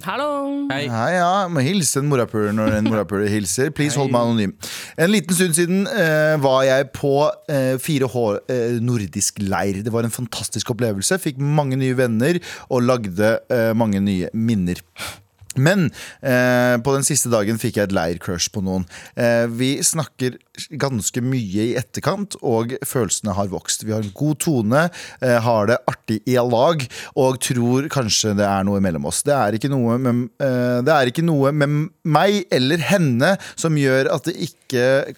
C: Hallo!
D: Hei.
B: Hei, ja. Må hilse en morapuler når en morapuler hilser. Please hold meg anonym. En liten stund siden eh, var jeg på eh, 4H eh, nordisk leir. Det var en fantastisk opplevelse. Fikk mange nye venner og lagde eh, mange nye minner. Men eh, på den siste dagen fikk jeg et leircrush på noen. Eh, vi snakker ganske mye i etterkant, og følelsene har vokst. Vi har en god tone, eh, har det artig i lag, og tror kanskje det er noe mellom oss. Det er ikke noe med, eh, det er ikke noe med meg eller henne som gjør at det ikke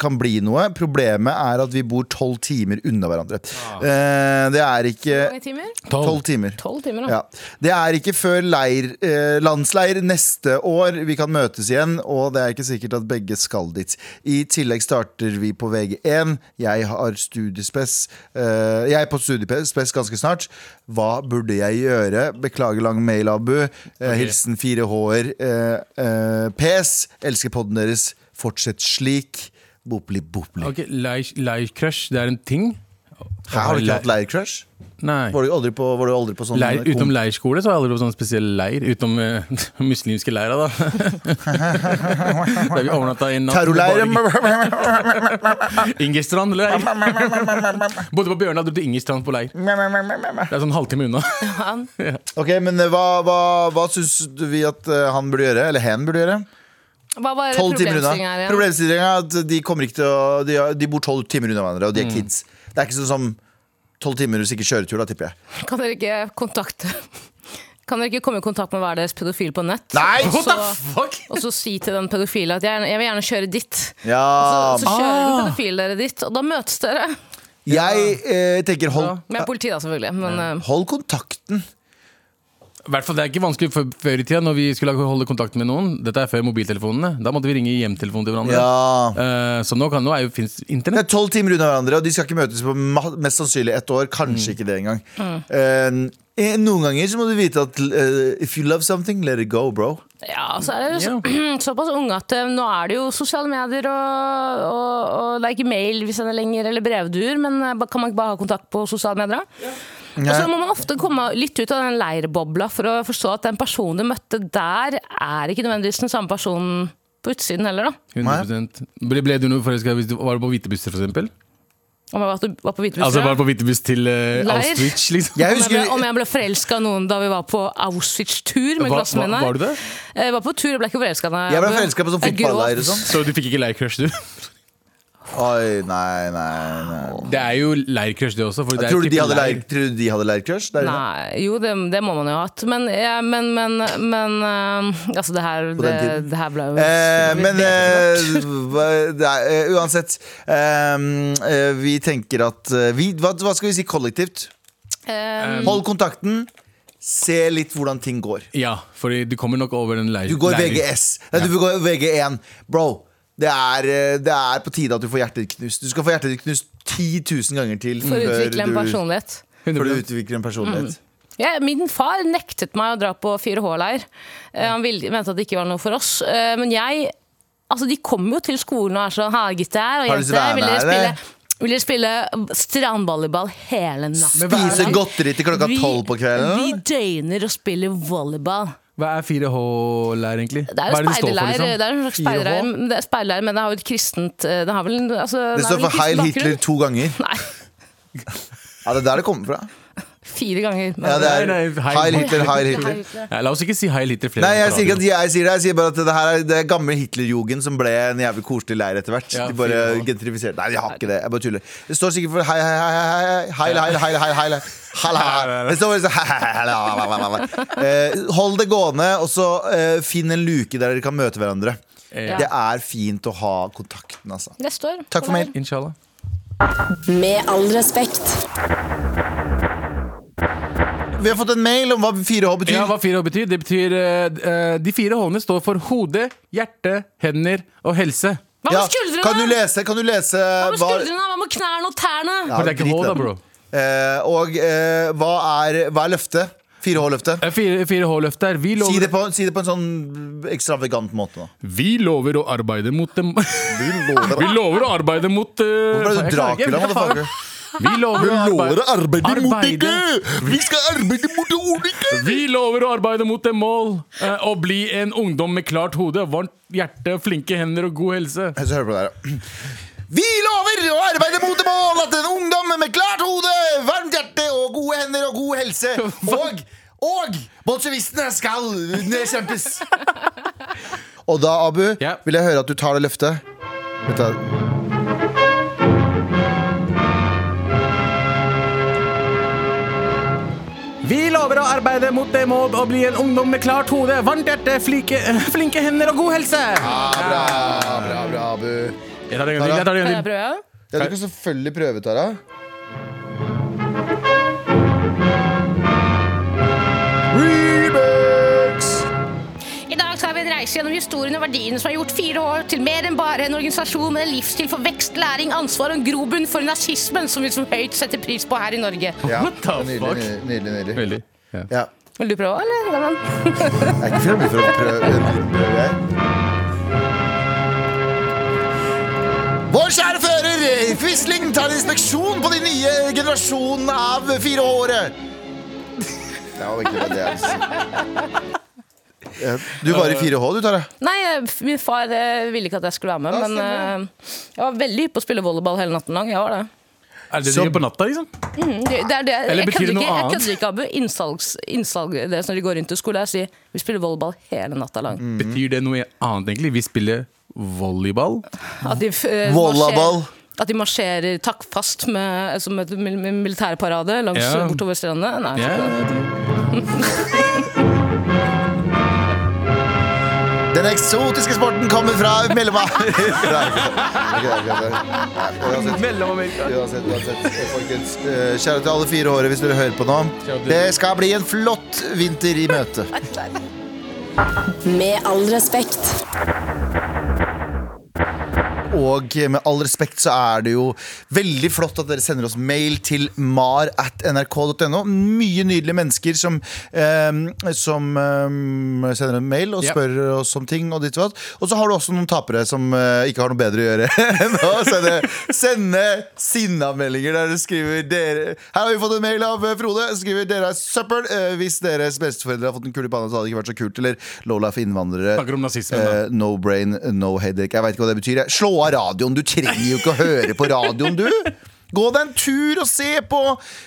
B: kan bli noe. Problemet er at vi bor tolv timer unna hverandre. Eh, det er ikke
C: Mange timer?
B: Tolv timer.
C: Tolv timer, da.
B: Ja. Det er ikke før leir, eh, landsleir neste år vi kan møtes igjen, og det er ikke sikkert at begge skal dit. I tillegg starter vi på VG1. Jeg har studiespes eh, Jeg er på studiespes ganske snart. Hva burde jeg gjøre? Beklager lang mail, Abu. Eh, Hilsen 4H-er. Eh, eh, PS. Elsker podden deres. Fortsett slik. Bopli, bopli.
D: Ok, Leir leir crush, det er en ting?
B: Hæ, Har du ikke hatt leircrush?
D: Nei.
B: Var du aldri på, var du aldri på sånn
D: Leir, utenom leirskole så har jeg aldri vært på sånn spesiell leir. Utenom eh, *laughs* muslimske
B: *laughs*
D: leira, da. Der vi overnatta i en natt.
B: Terrorleir?
D: *laughs* Ingerstrand leir. Bodde på Bjørnar, dro til Ingerstrand på leir. Det er sånn halvtime unna.
C: Han-
B: Ok, men eh, hva, hva, hva syns du vi at eh, han burde gjøre? Eller hen burde gjøre?
C: Hva var
B: Tolv timer unna.
C: problemstillingen her igjen?
B: Problemstillinga er at de, kommer ikke til å, de, har- de bor tolv timer unna hverandre, og de er kids. Det er ikke sånn som tolv timer og sikkert kjøretur, da, tipper jeg.
C: Kan dere ikke kontakte Kan dere ikke komme i kontakt med hver deres pedofil på nett?
B: Nei!
C: Og
D: What the
C: så-
D: fuck?
C: Og så si til den pedofile at jeg, jeg vil gjerne kjøre ditt.
B: Ja, Ah.
C: Så, så kjører den pedofile dere dit, og da møtes dere.
B: jeg eh, tenker hold,
C: Med politi, da, selvfølgelig. Men eh,
B: hold kontakten.
D: I hvert fall, Det er ikke vanskelig for før i tida, når vi skulle holde kontakt med noen. Dette er før mobiltelefonene. Da måtte vi ringe hjemtelefonen til hverandre.
B: Ja.
D: Eh, så nå, kan, nå er jo fins
B: Det
D: internett.
B: er tolv timer unna hverandre, og de skal ikke møtes på ma- mest sannsynlig ett år. Kanskje ikke det engang. Eh, noen ganger så må du vite at eh, if you love something, let it go, bro.
C: ja, så er dere så, *clears throat* såpass unge at eh, nå er det jo sosiale medier, og, og, og det er ikke mail vi sender lenger, eller brevduer, men eh, ba- kan man ikke bare ha kontakt på sosiale medier? da? Og så må man ofte komme litt ut av den leirbobla for å forstå at den personen du møtte der, er ikke nødvendigvis den samme personen på utsiden heller, da.
D: 100 Ble, ble du noe forelska hvis du var på hvitebusser, for eksempel?
C: Om jeg var- var på hvite
D: Altså
C: busser,
D: bare på hvitebuss til eh,
C: Leir.
D: Auschwitz, liksom?
B: Jeg
C: Om jeg ble,
B: husker
C: om jeg ble forelska noen da vi var på Auschwitz-tur med
D: Hva-
C: klassen min
D: hva-
C: her.
D: var du det?
C: Jeg var på tur, jeg ble ikke Eh, forelska.
B: Jeg ble forelska på sånn fotballeir og sånn.
D: Så du fikk ikke leircrush, du?
B: Oi, nei, nei, nei.
D: *laughs* Det er jo leircrush, det også. For det er
B: Tror du de
D: type
B: hadde
D: leir-
B: leir, tror du de hadde leircrush? der inne?
C: Nei, jo, det, det må man jo ha hatt. Men, ja, men, men, men eh, Altså, det her, det,
B: den tiden.
C: det her ble jo
B: Eh,
C: vi-
B: men
C: vi-
B: eh, hva- det er, eh, uansett eh, eh, Vi tenker at eh, vi, hva, hva skal vi si kollektivt?
C: Eh,
B: Hold kontakten. Se litt hvordan ting går.
D: Ja, for du kommer nok over den leir...
B: Du går
D: leir-
B: VGS. Nei, du går VG1. Bro, det er, eh, det er på tide at du får hjertet ditt knust. Du skal få hjertet ditt knust 10 000 ganger til
C: for å utvikle
B: eh,
C: en
B: du,
C: personlighet.
B: før du
D: 100%.
B: utvikler en
C: Mm.
B: personlighet.
C: Ja, min far nektet meg å dra på 4H-leir. Eh, Han ville, mente at det ikke var noe for oss. Eh, Men jeg Altså, de kommer jo til skolen og er sånn Her, gutter og
B: Har du lyst til å
C: jenter.
B: være
C: Vil
B: med,
C: dere spille,
B: eller?»
C: vil dere spille strandvolleyball hele natta?
B: Spise godteri til klokka tolv på
C: Vi
B: kvelden.
C: døgner og spiller volleyball.
D: Hva er 4H-leir, egentlig?
C: Det er
D: Hva
C: jo
D: det står for,
C: speiderleir,
D: liksom?
C: det er en slags
D: 4H?
C: speiderleir, men det er speiderleir, men det har jo et kristent eh, Det, har vel, en- altså,
B: Det
C: har
B: står
C: vel en
B: for Heil
C: kristen
B: Hitler
C: bakgrunn.
B: to ganger.
C: *laughs* Nei,
B: Ja, det er der det kommer fra.
C: fire ganger. Men,
B: Ja, det er
D: Nei, nei, Heil-
B: Heil Hitler, Heil Hitler.
D: Ja, la oss ikke si heil Hitler flere
B: Nei, jeg
D: på
B: sier ikke at
D: radio.
B: jeg sier det. Jeg sier bare at det her er det er gamle Hitlerjugend som ble en jævlig koselig leir etter hvert.
D: Ja,
B: De bare
D: fy faen.
B: gentrifiserte Nei, de har ikke det. Jeg bare tuller. Det står sikkert for hei, hei, hei, hei, hei, hei, hei, hei, hei, hei. Halla, halla. Det står bare sånn, hei, hei, hei, hei, hei, hei, hei. Eh, Hold det gående, og så eh, finn en luke der dere kan møte hverandre.
D: Ja.
B: Det er fint å ha kontakten, altså.
C: Neste år.
B: Takk for mail.
D: Inshallah.
A: Med all respekt.
B: Vi har fått en mail om hva 4H betyr.
D: Ja, hva 4H betyr? Det betyr eh, eh, De fire H-ene står for hode, hjerte, hender og helse.
C: Hva med
B: Ja,
C: skuldrene?
B: Kan du lese, kan du lese
C: Hva med skuldrene? Hva med knærne og tærne?
B: Ja,
D: For det er ikke
B: drit
D: H,
B: i
D: da,
B: det.
D: bro.
B: Eh, og eh, hva, er, hva er løftet? 4H-løftet.
D: 4H-løft der. Vi
B: Si det,
D: lover,
B: på, si det på en sånn ekstravagant måte nå.
D: vi lover å arbeide mot dem
B: Vi
D: Vi *laughs*
B: lover
D: lover å arbeide mot eh,
B: Hvorfor er
D: jeg
B: du
D: klarer ikke,
B: Dracula,
D: hva faen?
B: motherfucker?
D: Vi lover å arbeide, arbeide.
B: Vi skal arbeide mot ulike!
D: Vi lover å arbeide mot det mål eh, å bli en ungdom med klart hode, varmt hjerte, flinke hender og god helse.
B: Så hører du på det her. Vi lover å arbeide mot det mål at en ungdom med klart hode, varmt hjerte og gode hender og god helse og, og bolsjevistene skal nedkjempes.
D: *laughs*
B: Og da, Abu,
D: Ja.
B: vil jeg høre at du tar det løftet. Vet du hva?
D: Vi lover å arbeide mot det mål å bli en ungdom med klart hode, varmt hjerte, flinke, eh, flinke hender og god helse.
B: Ah, bra, bra, bra, Abu.
D: Jeg tar det en gang til. Jeg tar det
C: Kan
D: en gang
C: jeg
D: til.
C: prøve?
B: Ja, du kan selvfølgelig prøve, Tara. Remix!
C: I dag tar vi en reise gjennom historien og verdiene som har gjort fire år til mer enn bare en organisasjon med en livsstil for vekst, læring, ansvar og en grobunn for nazismen som vi så høyt setter pris på her i Norge.
B: Ja,
D: What the
B: nydelig,
D: fuck?
B: Nydelig, nydelig, nydelig.
D: Veldig. Ja.
B: Ja.
C: Vil du prøve, eller? Galvan?
B: Jeg er ikke fremmed for å prøve. prøve jeg. Vår kjære fører, Quisling tar inspeksjon på de nye generasjonene av firehåre. Det var egentlig bare det jeg ville altså. si. Ja, Du var i 4H, du, Tara.
C: Nei, eh, f- min far eh, ville ikke at jeg skulle være med,
B: Ja,
C: men eh, jeg var veldig hypp på å spille volleyball hele natten lang. Jeg var det.
D: Er det det
B: Så-
D: de gjør på natta, liksom?
C: Mm, det, det, er det.
D: Eller
C: jeg
D: betyr det
C: kødder
D: noe
C: ikke, jeg
D: annet?
C: kødder ikke, Abu. Innsalgs, innsalget deres sånn når de går rundt til skole, jeg sier vi spiller volleyball hele natta lang.
B: Mm.
D: Betyr det noe annet, egentlig? Vi spiller volleyball.
C: At de, eh,
B: Volleyball.
C: marsjerer- At de marsjerer takkfast med, eh, som et mil mil- militærparade langs eh,
D: Ja.
C: bortover strendene. Nei,
D: Ja,
B: Den eksotiske sporten kommer fra mellom... *laughs* Nei, det er ikke det. Det er ikke det. Nei, uansett.
D: Mellom-Amerika.
B: Uansett, uansett, eh, folkens. eh, Kjære til alle fire året hvis dere hører på nå. Det skal bli en flott vinter i møte.
A: Med all respekt.
B: Og med all respekt så er det jo veldig flott at dere sender oss mail til mar at nrk.no. Mye nydelige mennesker som, ehm, som ehm, sender en mail og
D: Ja.
B: spør oss om ting. Og ditt og datt. Og så har du også noen tapere som eh, ikke har noe bedre å gjøre *laughs* enn å sende, sende sinnameldinger der du skriver dere, Her har vi fått en mail av eh, Frode. som Skriver dere er søppel. eh, hvis deres besteforeldre har fått en kule i panna, så hadde det ikke vært så kult. Eller Lola for innvandrere.
D: Snakker om nazismen, da.
B: Eh, no brain, no headache. Jeg veit ikke hva det betyr. jeg. Slå av radioen. Du trenger jo ikke å høre på radioen, du. Gå deg en tur og se på,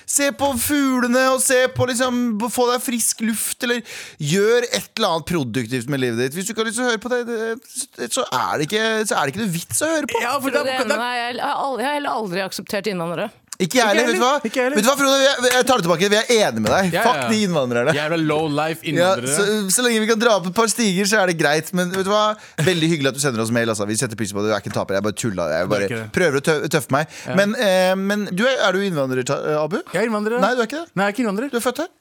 B: se på fuglene og se på liksom, få deg frisk luft, eller gjør et eller annet produktivt med livet ditt. Hvis du ikke har lyst til å høre på det, det så, er det ikke, så er det ikke noe vits å høre på.
D: Ja, for
C: Det
D: da,
C: er det ene.
D: da,
C: Nei, jeg har aldri- jeg har heller aldri akseptert innvandrere.
B: Ikke jeg heller. Vet du hva,
D: Ikke jeg heller.
B: Vet du hva Frode? Jeg, jeg tar det tilbake. Vi er enige med deg.
D: Ja, ja,
B: Fuck
D: ja.
B: de innvandrerne.
D: Jævla low life
B: Ja,
D: innvandrere.
B: så, så lenge vi kan dra opp et par stiger, så er det greit. Men vet du hva? Veldig hyggelig at du sender oss mail. Altså. Vi setter pris på det. Du er ikke en taper. Jeg bare tulla. Jeg
D: Det er
B: bare
D: ikke det.
B: prøver å tø tøffe meg. Men, eh, men du er, er du innvandrer, Ta- eh, Abu?
D: Jeg er innvandrer.
B: Nei, du er ikke det.
D: Nei, jeg er ikke innvandrer.
B: Du er født her.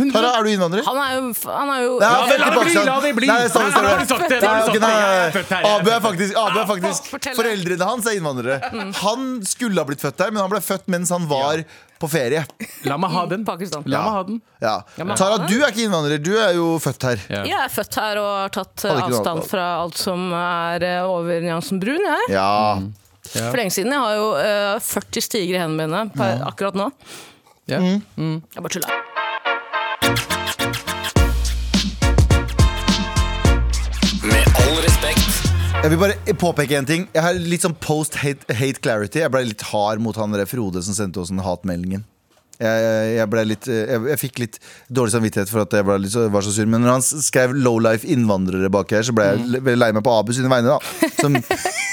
D: Hundre-
B: Tara, er du innvandrer?
C: Han er jo, han er jo
B: Nei,
D: La det- la det bli,
B: Pakistan.
D: la det bli.
B: sånn. Nei, det stemmer,
D: Nei, nå har
B: stemmer.
D: du sagt det, nå har du
B: Nei, ok,
D: sagt det. Jeg er
B: nei,
D: født her, jeg
B: nei.
D: er
B: Abu er
D: født her.
B: faktisk, Abu er faktisk
C: fortell det.
B: Foreldrene hans er innvandrere.
D: Mm.
B: Han skulle ha blitt født her, men han ble født mens han var på ferie.
D: La meg ha den.
C: Mm, Pakistan.
D: La meg
B: Ja.
D: ha den.
B: Ja.
C: men
B: Tara,
C: han er-
B: du er ikke innvandrer. Du er jo født her.
C: Jeg er født her og har tatt eh,
B: Hadde ikke noe
C: avstand
B: annet.
C: fra alt som er eh, over nyansen brun. Jeg.
B: Ja.
D: Mm.
C: For lenge siden. Jeg har jo eh, 40 stiger i hendene mine per, akkurat nå.
D: Ja.
B: Mm.
C: Jeg bare tuller.
F: Med all respekt.
B: Jeg vil bare påpeke en ting. Jeg har litt sånn post hate, hate clarity. Jeg ble litt hard mot han der Frode som sendte oss den hatmeldingen. Jeg, jeg, ble litt, jeg, jeg fikk litt dårlig samvittighet for at jeg ble litt, så- var så sur. Men når han skrev 'lowlife innvandrere' bak her, så ble jeg le- veldig lei meg på Abu sine vegne. da Som,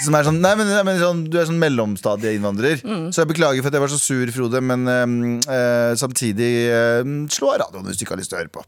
B: som er sånn Nei, men, nei, men sånn, du er sånn mellomstadieinnvandrer. Så jeg beklager for at jeg var så sur, Frode, men ehm, eh, samtidig ehm, slå av radioen hvis du ikke har lyst til å høre på.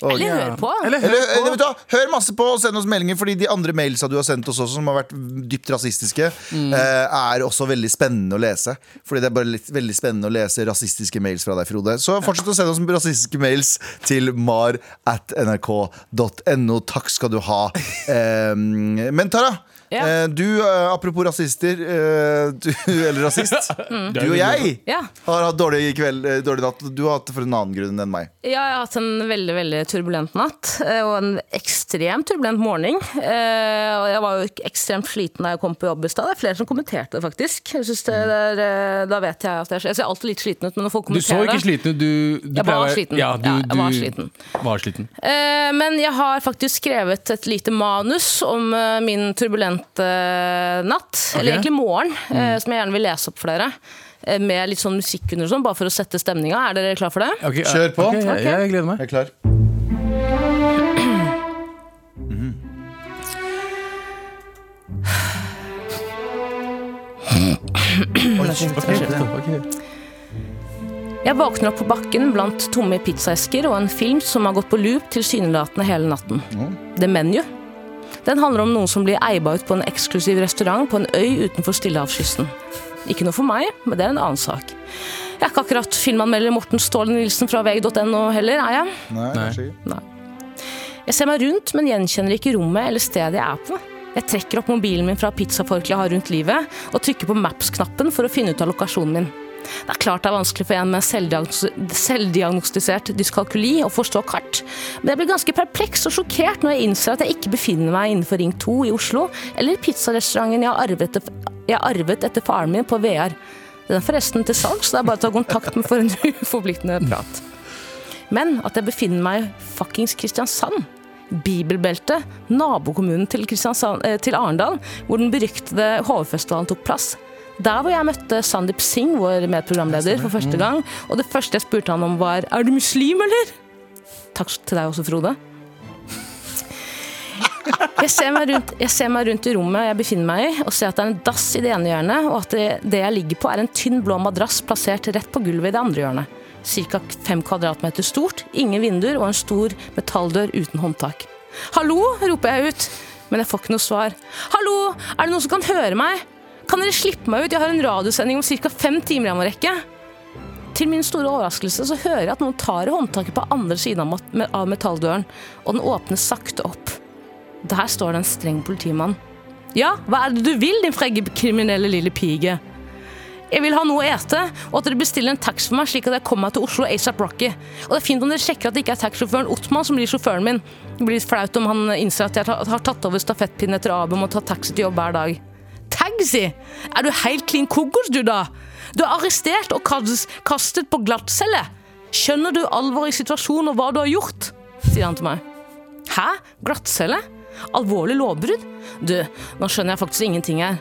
B: Og-
C: Eller hør på.
D: Eller
B: eller,
D: hør
B: eller,
D: på.
B: vet du, hva, hør masse på og send oss meldinger, fordi de andre mailsa du har sendt oss også, som har vært dypt rasistiske,
C: Mm.
B: eh, er også veldig spennende å lese. Fordi det er bare litt, veldig spennende å lese rasistiske mails fra deg, Frode. Så fortsett å sende oss rasistiske mails til
C: *laughs*
B: mar at nrk.no. Takk skal du ha. Eh, men Tara,
C: Ja.
B: Eh, Du, eh, apropos rasister eh, du, *laughs* Eller rasist Du og jeg
C: Ja.
B: har hatt dårlig, kveld, eh, dårlig natt Du har hatt det for en annen grunn enn meg
C: Ja, jeg har hatt en veldig veldig turbulent natt, eh, og en ekstremt turbulent morgen. Eh, Og jeg var jo ek- ekstremt sliten da jeg kom på jobb i stad. Det er flere som kommenterte det, faktisk. Jeg synes det er, eh, da vet jeg at jeg, jeg ser alltid litt sliten ut, men når folk
D: Du så
C: kommenterer
D: ikke
C: det
D: sliten ut. Du, du
C: Jeg var
D: pleier å være-
C: sliten.
D: Ja, du,
C: Ja, jeg var
D: du
C: sliten.
D: var sliten.
C: Eh, Men jeg har faktisk skrevet et lite manus om eh, min turbulente eh, natt. Eller egentlig morgen, eh,
D: Mm.
C: som jeg gjerne vil lese opp for dere. eh, Med litt sånn musikk under og sånn, bare for å sette stemninga. Er dere klar for det?
D: Ok, ja,
B: Kjør på.
D: ok, jeg, jeg gleder meg.
B: Jeg er klar
C: Jeg våkner opp på bakken blant tomme pizzaesker og en film som har gått på loop tilsynelatende hele natten. The Menu. Den handler om noen som blir eiba ut på en eksklusiv restaurant på en øy utenfor Stillehavskysten. Ikke noe for meg, men det er en annen sak. Jeg er ikke akkurat filmanmelder Morten Ståle Nilsen fra vg.no heller, er jeg?
B: Nei, kanskje ikke.
C: Jeg ser meg rundt, men gjenkjenner ikke rommet eller stedet jeg er på. Jeg trekker opp mobilen min fra pizzaforkleet jeg har rundt livet, og trykker på Maps-knappen for å finne ut av lokasjonen min. Det er klart det er vanskelig for en med selvdiagnos- selvdiagnostisert dyskalkuli å forstå kart, men jeg blir ganske perpleks og sjokkert når jeg innser at jeg ikke befinner meg innenfor Ring 2 i Oslo, eller pizzarestauranten jeg har arvet etter, jeg arvet etter faren min på VR. Den er forresten til salgs, så det er bare å ta kontakt med for en *laughs* uforpliktende prat. Men at jeg befinner meg i fuckings Kristiansand. Bibelbeltet, nabokommunen til, Kristiansand- eh, til Arendal, hvor den beryktede HV-festivalen tok plass. Der hvor jeg møtte Sandeep Singh, vår medprogramleder, for første gang. Og det første jeg spurte han om, var 'Er du muslim, eller?' Takk til deg også, Frode. Jeg ser, meg rundt, jeg ser meg rundt i rommet jeg befinner meg i, og ser at det er en dass i det ene hjørnet, og at det, det jeg ligger på, er en tynn blå madrass plassert rett på gulvet i det andre hjørnet. Cirka fem kvadratmeter stort, ingen vinduer og en stor metalldør uten håndtak. Hallo, roper jeg ut, men jeg får ikke noe svar. Hallo, er det noen som kan høre meg? Kan dere slippe meg ut? Jeg har en radiosending om ca. fem timer jeg må rekke. Til min store overraskelse så hører jeg at noen tar i håndtaket på andre siden av mat- av metalldøren, og den åpnes sakte opp. Der står det en streng politimann. Ja, hva er det du vil, din fregge kriminelle lille pige? Jeg vil ha noe å ete, og at dere bestiller en taxi for meg slik at jeg kommer meg til Oslo ASAP Rocky. Og det er fint om dere sjekker at det ikke er taxisjåføren Ottmann som blir sjåføren min. Det blir litt flaut om han innser at jeg ta- har tatt over stafettpinnen etter Abum og tatt taxi til jobb hver dag. Taxi? Er du helt klin kokkos, du da? Du er arrestert og kas- kastet på glattcelle. Skjønner du alvoret i situasjonen og hva du har gjort? sier han til meg. Hæ? Glattcelle? Alvorlig lovbrudd? Du, nå skjønner jeg faktisk ingenting her.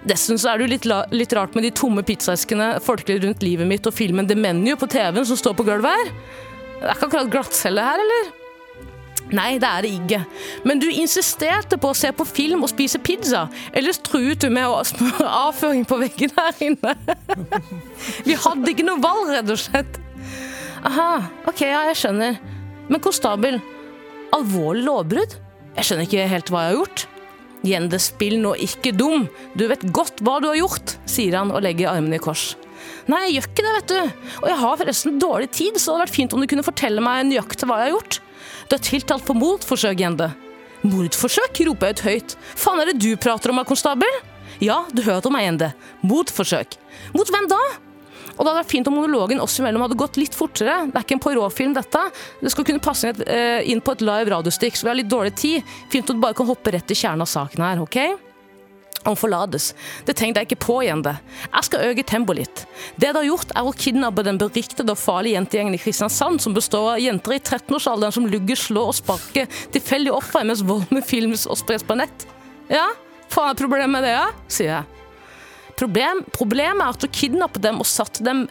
C: Dessuten så er det jo litt, la litt rart med de tomme pizzaeskene, folkelig rundt livet mitt og filmen The Menu på TV-en som står på gulvet her. Det er ikke akkurat glattcelle her, eller? Nei, det er det ikke. Men du insisterte på å se på film og spise pizza. Ellers truet du med å smøre *laughs* avføring på veggen her inne. *laughs* Vi hadde ikke noe valg, rett og slett. Aha, ok, ja, jeg skjønner. Men konstabel, Alvorlig lovbrudd? Jeg skjønner ikke helt hva jeg har gjort. Gjende spill nå ikke dum. Du vet godt hva du har gjort, sier han og legger armene i kors. Nei, jeg gjør ikke det, vet du. Og jeg har forresten dårlig tid, så det hadde vært fint om du kunne fortelle meg nøyaktig hva jeg har gjort. Du er tiltalt for mordforsøk, Gjende. Mordforsøk? roper jeg ut høyt. Faen er det du prater om, herr konstabel? Ja, du hørte om meg, Gjende. Mordforsøk. Mot hvem da? Og det hadde vært fint om monologen oss imellom hadde gått litt fortere. Det er ikke en Poirot-film, dette. Det skal kunne passe inn, et, eh, inn på et live radiostikk, så vi har litt dårlig tid. Fint om du bare kan hoppe rett til kjernen av saken her, OK? Han forlates. Det tenkte jeg ikke på igjen. det. Jeg skal øke tempoet litt. Det det har gjort, er å kidnappe den beryktede og farlige jentegjengen i Kristiansand, som består av jenter i 13-årsalderen som lugger, slår og sparker tilfeldige ofre mens volden filmes og spres på nett. Ja, faen er problemet med det, ja? sier jeg. Problem, problemet er at du kidnappet dem og satte dem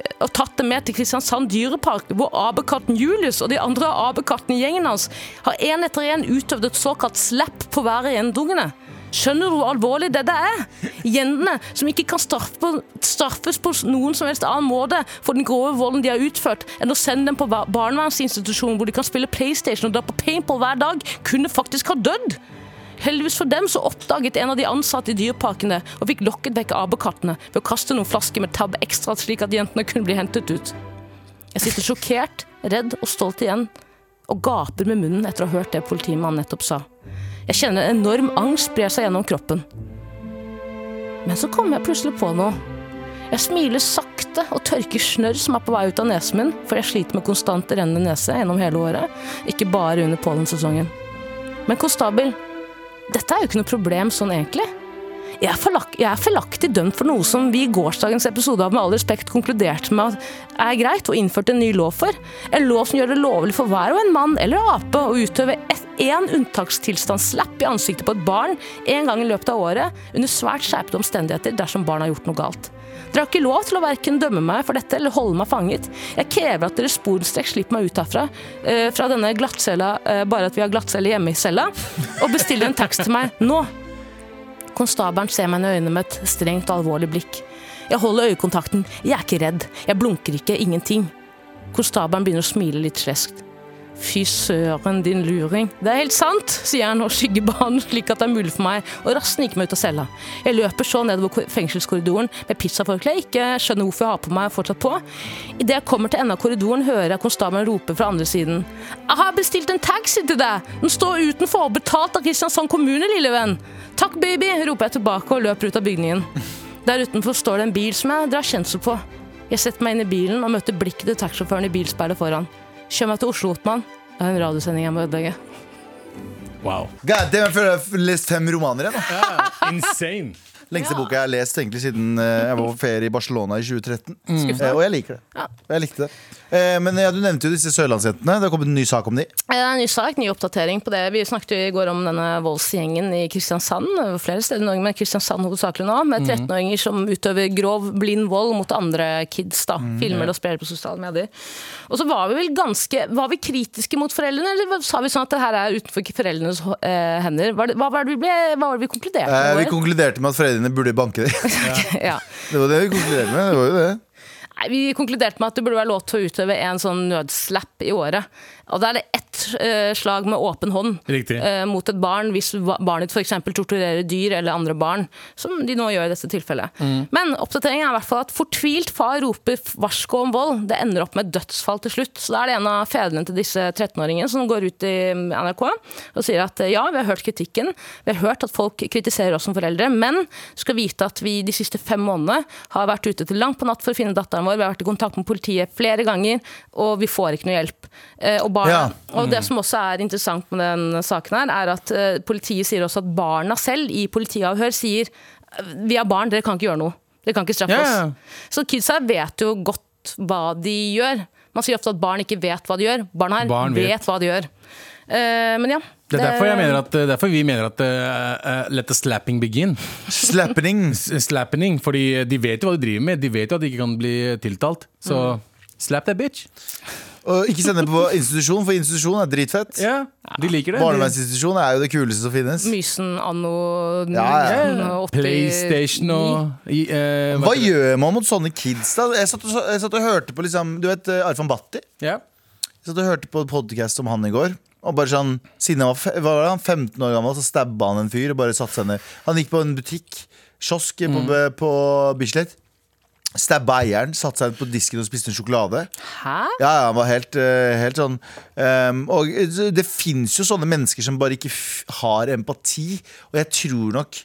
C: eh, og tatt dem med til Kristiansand dyrepark, hvor apekatten Julius og de andre apekattene i gjengen hans har en etter en utøvd et såkalt slapp på hver av gjendungene. Skjønner du hvor alvorlig dette er? Gjendene som ikke kan straffe på, straffes på noen som helst annen måte for den grove volden de har utført, enn å sende dem på bar- barnevernsinstitusjon hvor de kan spille PlayStation og dra på paintball hver dag, kunne faktisk ha dødd. Heldigvis for dem så oppdaget en av de ansatte i dyreparkene og fikk lokket vekk apekattene ved å kaste noen flasker med tab ekstra slik at jentene kunne bli hentet ut. Jeg sitter sjokkert, redd og stolt igjen og gaper med munnen etter å ha hørt det politimannen nettopp sa. Jeg kjenner en enorm angst sprer seg gjennom kroppen. Men så kommer jeg plutselig på noe. Jeg smiler sakte og tørker snørr som er på vei ut av nesen min, for jeg sliter med konstant rennende nese gjennom hele året, ikke bare under pollensesongen. Men konstabel, dette er jo ikke noe problem sånn egentlig. Jeg er, forlak jeg er feilaktig dømt for noe som vi i gårsdagens episode av Med all respekt konkluderte med at er greit, og innførte en ny lov for. En lov som gjør det lovlig for hver og en mann eller ape å utøve én unntakstilstandslapp i ansiktet på et barn en gang i løpet av året under svært skjerpede omstendigheter dersom barn har gjort noe galt. Dere har ikke lov til å verken dømme meg for dette eller holde meg fanget. Jeg krever at dere sporenstreks slipper meg ut herfra, eh, fra denne glattcella, eh, bare at vi har glattcelle hjemme i cella, og bestiller en taxi til meg nå. Konstabelen ser meg i øynene med et strengt, alvorlig blikk. Jeg holder øyekontakten. Jeg er ikke redd. Jeg blunker ikke. Ingenting. Konstabelen begynner å smile litt sleskt. Fy søren, din luring. Det er helt sant, sier han og skygger banen slik at det er mulig for meg å raskt snike meg ut av cella. Jeg løper så nedover ko- fengselskorridoren med pizzaforkle jeg ikke skjønner hvorfor jeg har på meg fortsatt på. Idet jeg kommer til enden av korridoren, hører jeg konstabelen rope fra andre siden. Jeg har bestilt en taxi til deg! Den står utenfor, betalt av Kristiansand kommune, lille venn! Takk, baby! roper jeg tilbake og løper ut av bygningen. Der utenfor står det en bil som jeg drar kjensel på. Jeg setter meg inn i bilen og møter blikket til taxisjåføren i bilspeilet foran. Kjør meg til Oslo, Ottmann. Det er en radiosending jeg må ødelegge.
D: Wow.
B: God damn, jeg føler jeg har lest fem romaner igjen. da.
D: Insane.
B: Lengste boka jeg har lest egentlig siden eh, jeg var på ferie i Barcelona i 2013. Eh, Og jeg liker det. Jeg likte det. Eh, Men ja, du nevnte jo disse sørlandsjentene. Det har kommet en ny sak om de.
C: Eh, Det er en ny sak, ny oppdatering på det. Vi snakket jo i går om denne voldsgjengen i Kristiansand. eh, Flere steder i Norge, men Kristiansand hovedsakelig nå.
B: Mhm.
C: Med 13-åringer som utøver grov, blind vold mot andre kids. da.
B: Mhm.
C: Filmer det og sprer det på sosiale medier. Og så var vi vel ganske Var vi kritiske mot foreldrene, eller var- sa vi sånn at det her er utenfor foreldrenes eh, hender? Hva, er det- hva var det vi, ble, hva var det vi konkluderte
B: Eh,
C: med?
B: Vi konkluderte med at foreldrene burde banke dem.
C: *laughs* ja.
B: *laughs* Det var det vi konkluderte med. Det var jo det.
C: Nei, Vi konkluderte med at det burde være lov til å utøve en sånn nødslapp i året. Og da er det ett eh, slag med åpen hånd
D: Riktig.
C: eh, mot et barn hvis va- barnet f.eks. torturerer dyr eller andre barn, som de nå gjør i dette tilfellet. Men oppdateringen er i hvert fall at fortvilt far roper f- varsko om vold. Det ender opp med dødsfall til slutt. Så da er det en av fedrene til disse 13-åringene som går ut i mm, NRK og sier at eh, ja, vi har hørt kritikken. Vi har hørt at folk kritiserer oss som foreldre, men du skal vite at vi de siste fem månedene har vært ute til langt på natt for å finne datteren vår. Vi har vært i kontakt med politiet flere ganger, og vi får ikke noe hjelp. Eh, Og, barna,
B: Ja.
C: og
D: Mm.
C: det som også er interessant med den saken her, er at eh, politiet sier også at barna selv i politiavhør sier vi er barn, dere kan ikke gjøre noe. Dere kan ikke straffe
D: Ja,
C: oss.
D: ja, ja.
C: Så kidsa vet jo godt hva de gjør. Man sier ofte at barn ikke vet hva de gjør. Barn her
D: Barn
C: vet.
D: vet.
C: hva de gjør. Eh, men ja.
D: Det er derfor, jeg mener at, eh, derfor vi mener at eh, eh, let the slapping begin.
B: Slappening.
D: S- eh, Slappening, fordi de vet jo hva de driver med. De vet jo at de ikke kan bli tiltalt. Så
C: Mm.
D: slap that bitch.
B: Og ikke sende på institusjon, for institusjon er dritfett.
D: Ja, De liker det.
B: Barnevernsinstitusjon er jo det kuleste som finnes.
C: Eh, Mysen anno
B: Ja, ja.
C: 1989.
D: PlayStation og i, eh,
B: Hva
D: heter det?
B: gjør man mot sånne kids, da? Jeg satt og, jeg satt og hørte på liksom, Du vet eh, Arfan Bhatti?
D: Ja.
B: Jeg satt og hørte på podcast om han i går. Og bare sånn, Siden han var, fe- hva var det, han 15 år gammel, så stabba han en fyr. og bare satt seg ned Han gikk på en butikk, kiosk på, på Bislett. Stabba eieren, satte seg ned på disken og spiste en sjokolade.
C: Hæ?
B: Ja, ja, han var helt, eh, helt sånn ehm, Og det finnes jo sånne mennesker som bare ikke f har empati Og jeg tror nok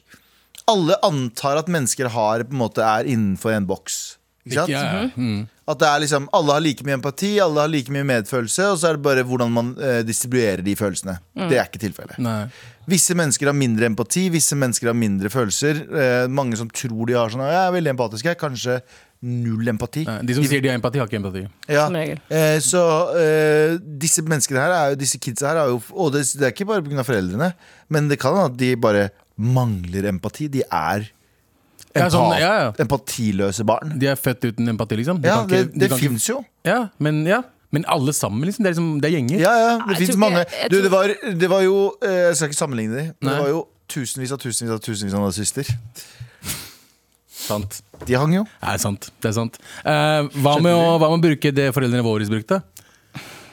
B: Alle antar at mennesker har på en måte er innenfor en boks Ikke sant?
D: Ja, ja. Mm.
B: At det er liksom, alle har like mye empati, alle har like mye medfølelse Og så er det bare hvordan man eh, distribuerer de følelsene Det er ikke tilfellet
D: Nei.
B: Visse mennesker har mindre empati, visse mennesker har mindre følelser eh, Mange som tror de har sånn Jeg er veldig empatisk, jeg er kanskje null empati
D: Nei. De som sier de har empati, har ikke empati.
B: ja.
C: Som regel.
B: Eh, så eh, disse menneskene her er jo, Disse kidsa her er jo Og det, det er ikke bare pga. foreldrene, men det kan hende at de bare mangler empati. De er
D: Ja, sånn,
B: empat-
D: ja, ja.
B: empatiløse barn.
D: De er født uten empati, liksom. De
B: Ja,
D: kan
B: det,
D: ikke- de
B: det
D: kan ikke-
B: fins jo.
D: Ja, men ja. Men alle sammen, liksom. Det er, liksom, det er gjenger.
B: Ja, ja,
C: Nei,
B: det
C: jeg
B: fins
C: tror
B: mange.
C: ikke- jeg
B: Du, det
C: tror-
B: var, det var jo eh, Jeg skal ikke sammenligne de, men
D: Nei.
B: det var jo tusenvis av tusenvis av tusenvis av nazister.
D: Sant.
B: De hang jo.
D: Det er sant. Det er sant. Eh, hva, med å, hva med å bruke det foreldrene våre brukte?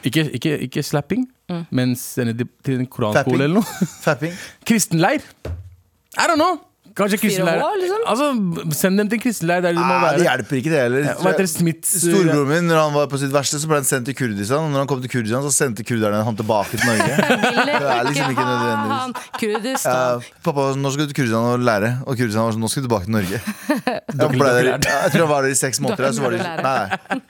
D: Ikke, ikke, ikke slapping,
C: Mm.
D: men sende de til en koranskole
B: Fapping.
D: eller noe. *laughs*
B: Fapping.
D: Kristenleir? I don't know. Kanskje kristenleir
C: Fyre hår, liksom?
D: Altså, Send dem til kristenleir der de må
B: Nei, det
D: være.
B: hjelper ikke, det heller.
D: Hva heter det? Smiths eh,
B: Storebroren min når han var på sitt verste, så ble han sendt til Kurdistan. Og når han kom til Kurdistan, så sendte kurderne ham tilbake til Norge. Det er liksom ikke nødvendigvis.
C: Han, Kurdistan.
B: Ja, pappa, nå skal du til Kurdistan og lære. Og Kurdistan var sånn, nå skal du tilbake til Norge. Han ble der, jeg tror han var der i seks måneder. og Så var det,
C: Dere
B: nei,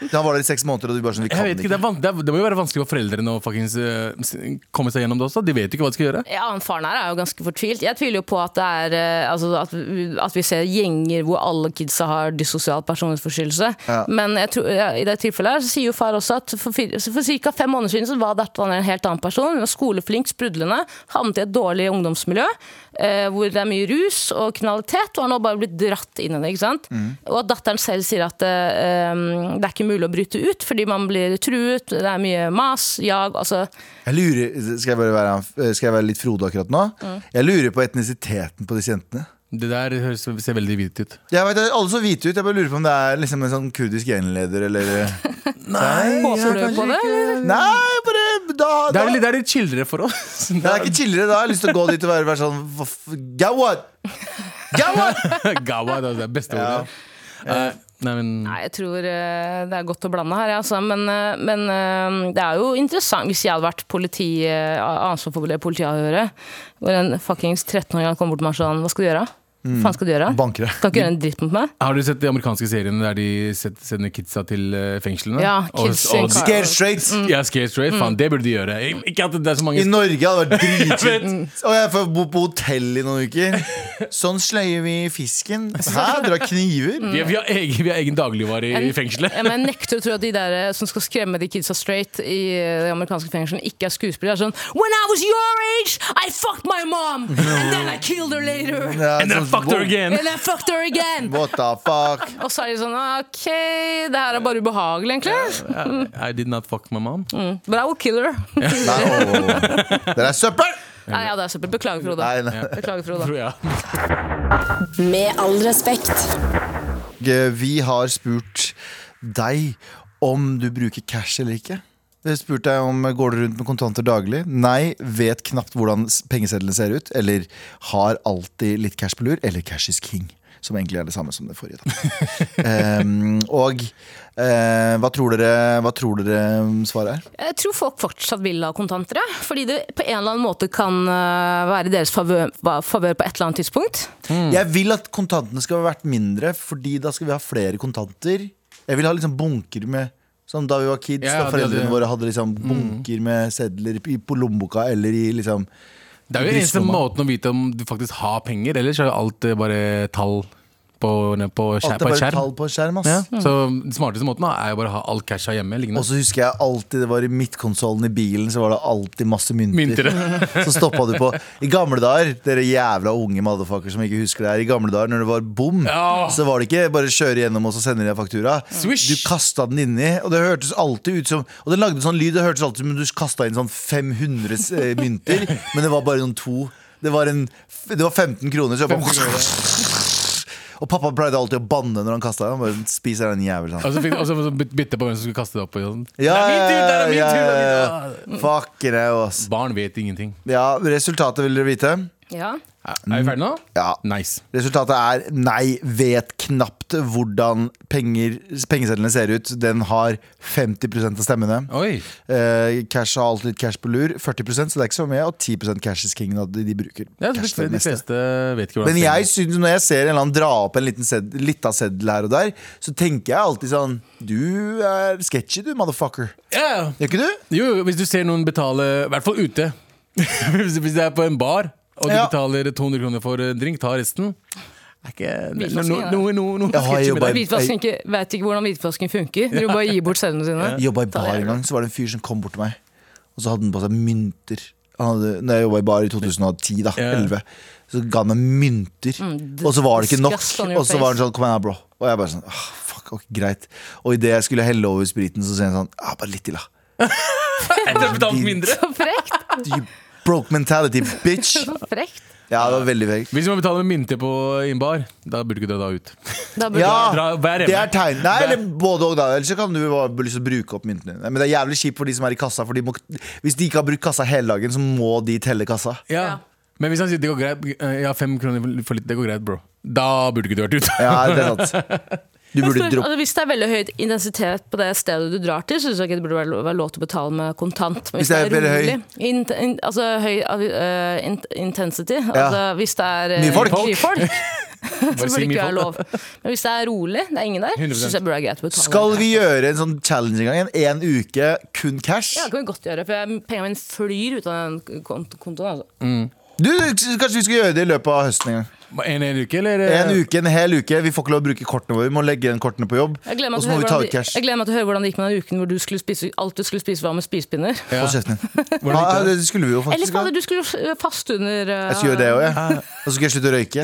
B: nei. Han var der i seks måneder, og de bare sånn, vi
D: Jeg
B: kan
D: vet ikke,
B: ikke.
D: det, er van det, er, det må jo være vanskelig for foreldrene å fuckings, eh, s- komme seg gjennom det også. De vet jo ikke hva de skal gjøre.
C: Ja, han Faren her er jo ganske fortvilt. Jeg tviler jo på at det er eh, altså at, at vi ser gjenger hvor alle kidsa har dyssosial personlighetsforstyrrelse.
B: Ja.
C: Men jeg tror, ja, i det tilfellet her så sier jo far også at for, fir- så for ca. fem måneder siden så var dette en helt annen person. Hun var skoleflink, sprudlende, havnet i et dårlig ungdomsmiljø eh, hvor det er mye rus og kriminalitet, og har nå bare blitt dratt inn i det. ikke sant? Og at datteren selv sier at eh, um, det er ikke mulig å bryte ut fordi man blir truet, det er mye mas, jag. altså...
B: Jeg lurer, skal jeg bare være, skal jeg være litt Frode akkurat nå? Jeg lurer på etnisiteten på disse jentene.
D: Det der høres, ser veldig hvitt ut.
B: Jeg vet, det er Alle så hvite ut. Jeg bare lurer på om det er liksom en sånn kurdisk gjenleder
C: *laughs*
B: eller
C: Håper du på det, eller?
B: Nei, bare da,
D: Det
B: da.
D: er, litt- det er litt chillere for oss. *laughs*
B: Det er ikke chillere da. Jeg har lyst til å gå dit og være, være sånn "Hva f- Gawad! Gawad!
D: Gawa, det er det beste ordet. Eh, nei, men
C: Nei, jeg tror eh, det er godt å blande her, ja, altså. men, eh, men eh, det er jo interessant hvis jeg hadde vært politi, eh, ansvar for politiavhøret, hvor en fuckings 13-åring hadde kommet bort til meg og sånn Hva skal du gjøre? Hva faen skal du gjøre?
B: Bankere.
C: Kan ikke gjøre en dritt mot meg?
D: Har du sett de amerikanske seriene der de set- sender kidsa til eh, fengslene?
C: Ja, kids in car.
B: Scared straight.
C: Mm.
D: Ja, Scare Straight. Faen, det burde de gjøre. Ik- Ikke at det er så mange
B: I Norge hadde
C: *laughs*
B: det vært dritfint. Og jeg får bo på hotell i noen uker. Sånn sløyer vi
C: *laughs*
B: fisken. Hæ? Dere har kniver?
C: Mm.
D: vi, vi, har egen, vi har egen dagligvare i, i fengselet.
C: Ja, men jeg nekter å tro at de der eh, som skal skremme de kidsa straight i eh, de amerikanske fengslene, ikke er skuespillere. Det er sånn When I was your age, I fucked my mom! And then I killed her
B: *laughs*
C: later!
B: Ja,
D: *laughs* And then
B: sånn,
D: fuck her
B: wow,
D: again!
C: And I fucked her again!
B: What the fuck?
C: Og så er de sånn OK, det her er bare ubehagelig, egentlig.
D: I did not fuck my mom.
C: But I will kill her.
B: Nei, åh. Dere er søppel!
C: Nei, ja, det er søppel. Beklager, Frode.
B: Nei, nei.
C: Beklager, Frode.
D: Tror jeg.
A: Med all respekt.
B: eh, Vi har spurt deg om du bruker cash eller ikke. Vi har spurt deg om eh, går du rundt med kontanter daglig. Nei, vet knapt hvordan s- pengesedlene ser ut. Eller har alltid litt cash på lur. Eller cash is king. Som egentlig er det samme som det forrige. da. Em, og eh, hva, tror dere, hva tror dere svaret er?
C: Jeg tror folk fortsatt vil ha kontanter, jeg. fordi det på en eller annen måte kan øh, være i deres favør favør på et eller annet tidspunkt.
D: Mm.
B: Jeg vil at kontantene skal være verdt mindre, fordi da skal vi ha flere kontanter. Jeg vil ha liksom bunker med Som da vi var kids,
D: Ja,
B: da
D: ja, det-
B: foreldrene
D: det- Mm.
B: våre hadde liksom bunker med sedler i- på lommeboka eller i liksom
D: Det er jo eneste
B: Brystlomma.
D: måten å vite om du faktisk har penger, ellers er jo alt eh, bare tall på, på,
B: Alt
D: skjer,
B: er
D: på et
B: bare
D: skjerm.
B: tall på en skjerm, ass.
D: Ja. Så den smarteste måten da, er jo bare å ha all casha hjemme.
B: Og
D: Liggende.
B: så husker jeg alltid det var i midtkonsollen i bilen, så var det alltid masse mynter. *laughs*
D: Mynter,
B: så stoppa du på I gamle dager, dere jævla unge motherfuckers som ikke husker det her, i gamle dager når det var bom,
D: Ja.
B: så var det ikke bare kjøre gjennom og så sender de deg faktura.
D: Swish.
B: Du kasta den inni, og det hørtes alltid ut som Og den lagde sånn lyd, det hørtes alltid ut som du kasta inn sånn 500 s- eh,
D: *laughs*
B: mynter, men det var bare noen to. Det var, en, det var 15 kroner, så jeg bare *laughs* Og pappa pleide alltid å banne når han kasta. Han bare spiser den jævelen.
D: Og så fikk- og så byt- bytte på hvem som skulle kaste det opp. Og sånn.
B: Ja,
D: det er min tur! Det er min
B: ja,
D: tur! Det er min
B: ja, ja. Fuck it, ass.
D: tur. Barn vet ingenting.
B: Ja, resultatet vil dere vite.
C: Ja.
D: Er er vi ferdige nå?
B: Ja.
D: Nice.
B: Resultatet er nei, vet knapt hvordan penger, pengesedlene ser ut. Den har 50 av stemmene.
D: Oi.
B: Eh, cash har alltid litt cash på lur. 40 så det er ikke så mye. Og 10 cash is king. da, De de bruker
D: Ja, de,
B: cash til det
D: fleste, de
B: meste.
D: fleste vet ikke hvordan
B: Men
D: det
B: jeg
D: er.
B: synes, når jeg ser en eller annen dra opp en liten sed, lita seddel her og der, så tenker jeg alltid sånn Du er sketchy, du, motherfucker.
D: Ja.
B: Gjør ikke du?
D: Jo, jo, hvis du ser noen betale, i hvert fall
B: *laughs*
D: ute Hvis hvis det er på en bar, og du
B: Ja.
D: betaler 200 kroner for eh, drink, ta resten. Er ikke, no, no,
C: Hvitvasking, ja.
D: no, no, no,
B: Jeg har
D: sketchy
B: jo
D: med
B: bare-
D: det.
C: Hvitvasking ikke, vet ikke hvordan hvitvasking funker. Dere bare gir bort sedlene sine.
B: Jeg jobba i bar en gang, så var det en fyr som kom bort til meg. Og så hadde han på seg mynter. Han hadde, når jeg jobba i bar i 2010, da,
D: Ja.
B: 11, så ga han meg mynter.
C: Mm, d-
B: og så var det ikke nok.
C: disgust on your
B: Og så var han
C: face.
B: sånn Kom igjen, da, bro. Og jeg bare sånn ah, Fuck, ok, greit. Og idet jeg skulle helle over spriten, så sier han sånn ah, Bare litt til, da.
D: Etter å ha betalt mindre.
C: Så frekt!
B: You broke mentality, bitch.
C: *laughs* Så frekt.
B: Ja, det var veldig vekt.
D: Hvis du må betale med mynte på i en bar, da burde du ikke dra da ut.
C: Da burde
B: Ja,
D: Dra- vær hjemme.
B: det er tegn. Nei,
D: Vær-
B: eller både og, da. Ellers så kan du bare lyst til å bruke opp myntene dine. Men det er jævlig kjipt for de som er i kassa. For de må, hvis de ikke har brukt kassa hele dagen, så må de telle kassa.
D: Ja.
C: Ja.
D: Men hvis han sier det går greit, eh, jeg har fem kroner for litt, det går greit, bro. Da burde ikke du vært ute.
B: Ja, det er sant. Du burde droppe
C: Altså, hvis det er veldig høy intensitet på det stedet du drar til, syns jeg ikke det burde være lov- være lov til å betale med kontant. Men
B: Hvis det er veldig høy-
C: rolig- int- in, Altså høy eh, int- intensity. Altså, hvis det er eh,
B: Mye folk.
C: mye folk, så
D: Bare
C: burde ikke
D: si mye
C: være
D: folk.
C: lov. *laughs* Men hvis det er rolig, det er ingen der, så syns
D: 100%.
C: jeg det burde være greit å betale.
B: Skal vi gjøre en sånn challenge en gang? En en uke, kun cash?
C: Ja, det kan vi godt gjøre, for jeg- pengene mine flyr ut av den kont kontoen. Altså.
B: Mm. Du, Kanskje vi skal gjøre det i løpet av høsten en gang?
D: En, en uke, eller? eh,
B: En uke, en hel uke. Vi får ikke lov å bruke kortene våre. Vi må legge igjen kortene på jobb.
C: Jeg
B: Og
C: gleder, meg
B: så
C: til å
B: må vi
C: høre
B: ta
C: hvordan
B: ut
C: de-
B: cash.
C: jeg gleder meg til å høre hvordan det gikk med den uken hvor du skulle spise, alt du skulle spise var med spisepinner.
D: Ja.
B: Hold kjeften din.
D: *laughs* Hvordan
B: Ja,
D: gikk det?
B: det skulle vi jo
C: Eller
B: faktisk ha.
C: fader, du skulle jo f- faste under eh,
B: Jeg skulle gjøre det òg, jeg. Og så skulle jeg slutte å røyke.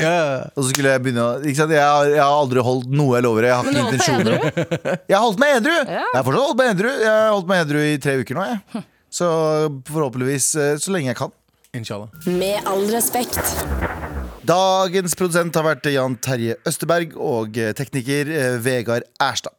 B: Og så skulle jeg begynne å ikke sant? Jeg, har- jeg har aldri holdt noe jeg lover. Jeg har
C: Men du
B: ikke
C: holdt deg
B: intensjoner.
C: edru?
B: Jeg har holdt meg edru! Jeg har fortsatt holdt meg edru Jeg har holdt meg edru i tre uker nå.
C: Hm.
B: Jeg. Så forhåpentligvis eh, så lenge jeg kan.
D: Inshallah.
A: Med all respekt.
B: Dagens produsent har vært Jan Terje Østerberg og eh, tekniker eh, Vegard Erstad.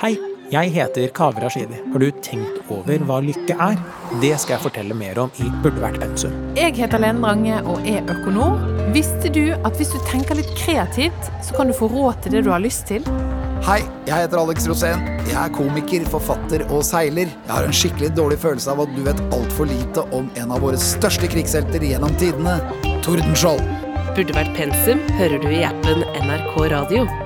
G: Hei, jeg heter Kaveh Rashidi. Har du tenkt over hva lykke er? Det skal jeg fortelle mer om i Burde vært pensum.
H: Jeg heter Lene Drange og er økonom. Visste du at hvis du tenker litt kreativt, så kan du få råd til det du har lyst til?
I: Hei, jeg heter Alex Rosén. Jeg er komiker, forfatter og seiler. Jeg har en skikkelig dårlig følelse av at du vet altfor lite om en av våre største krigshelter gjennom tidene, Tordenskjold.
J: Burde vært pensum hører du i appen NRK Radio.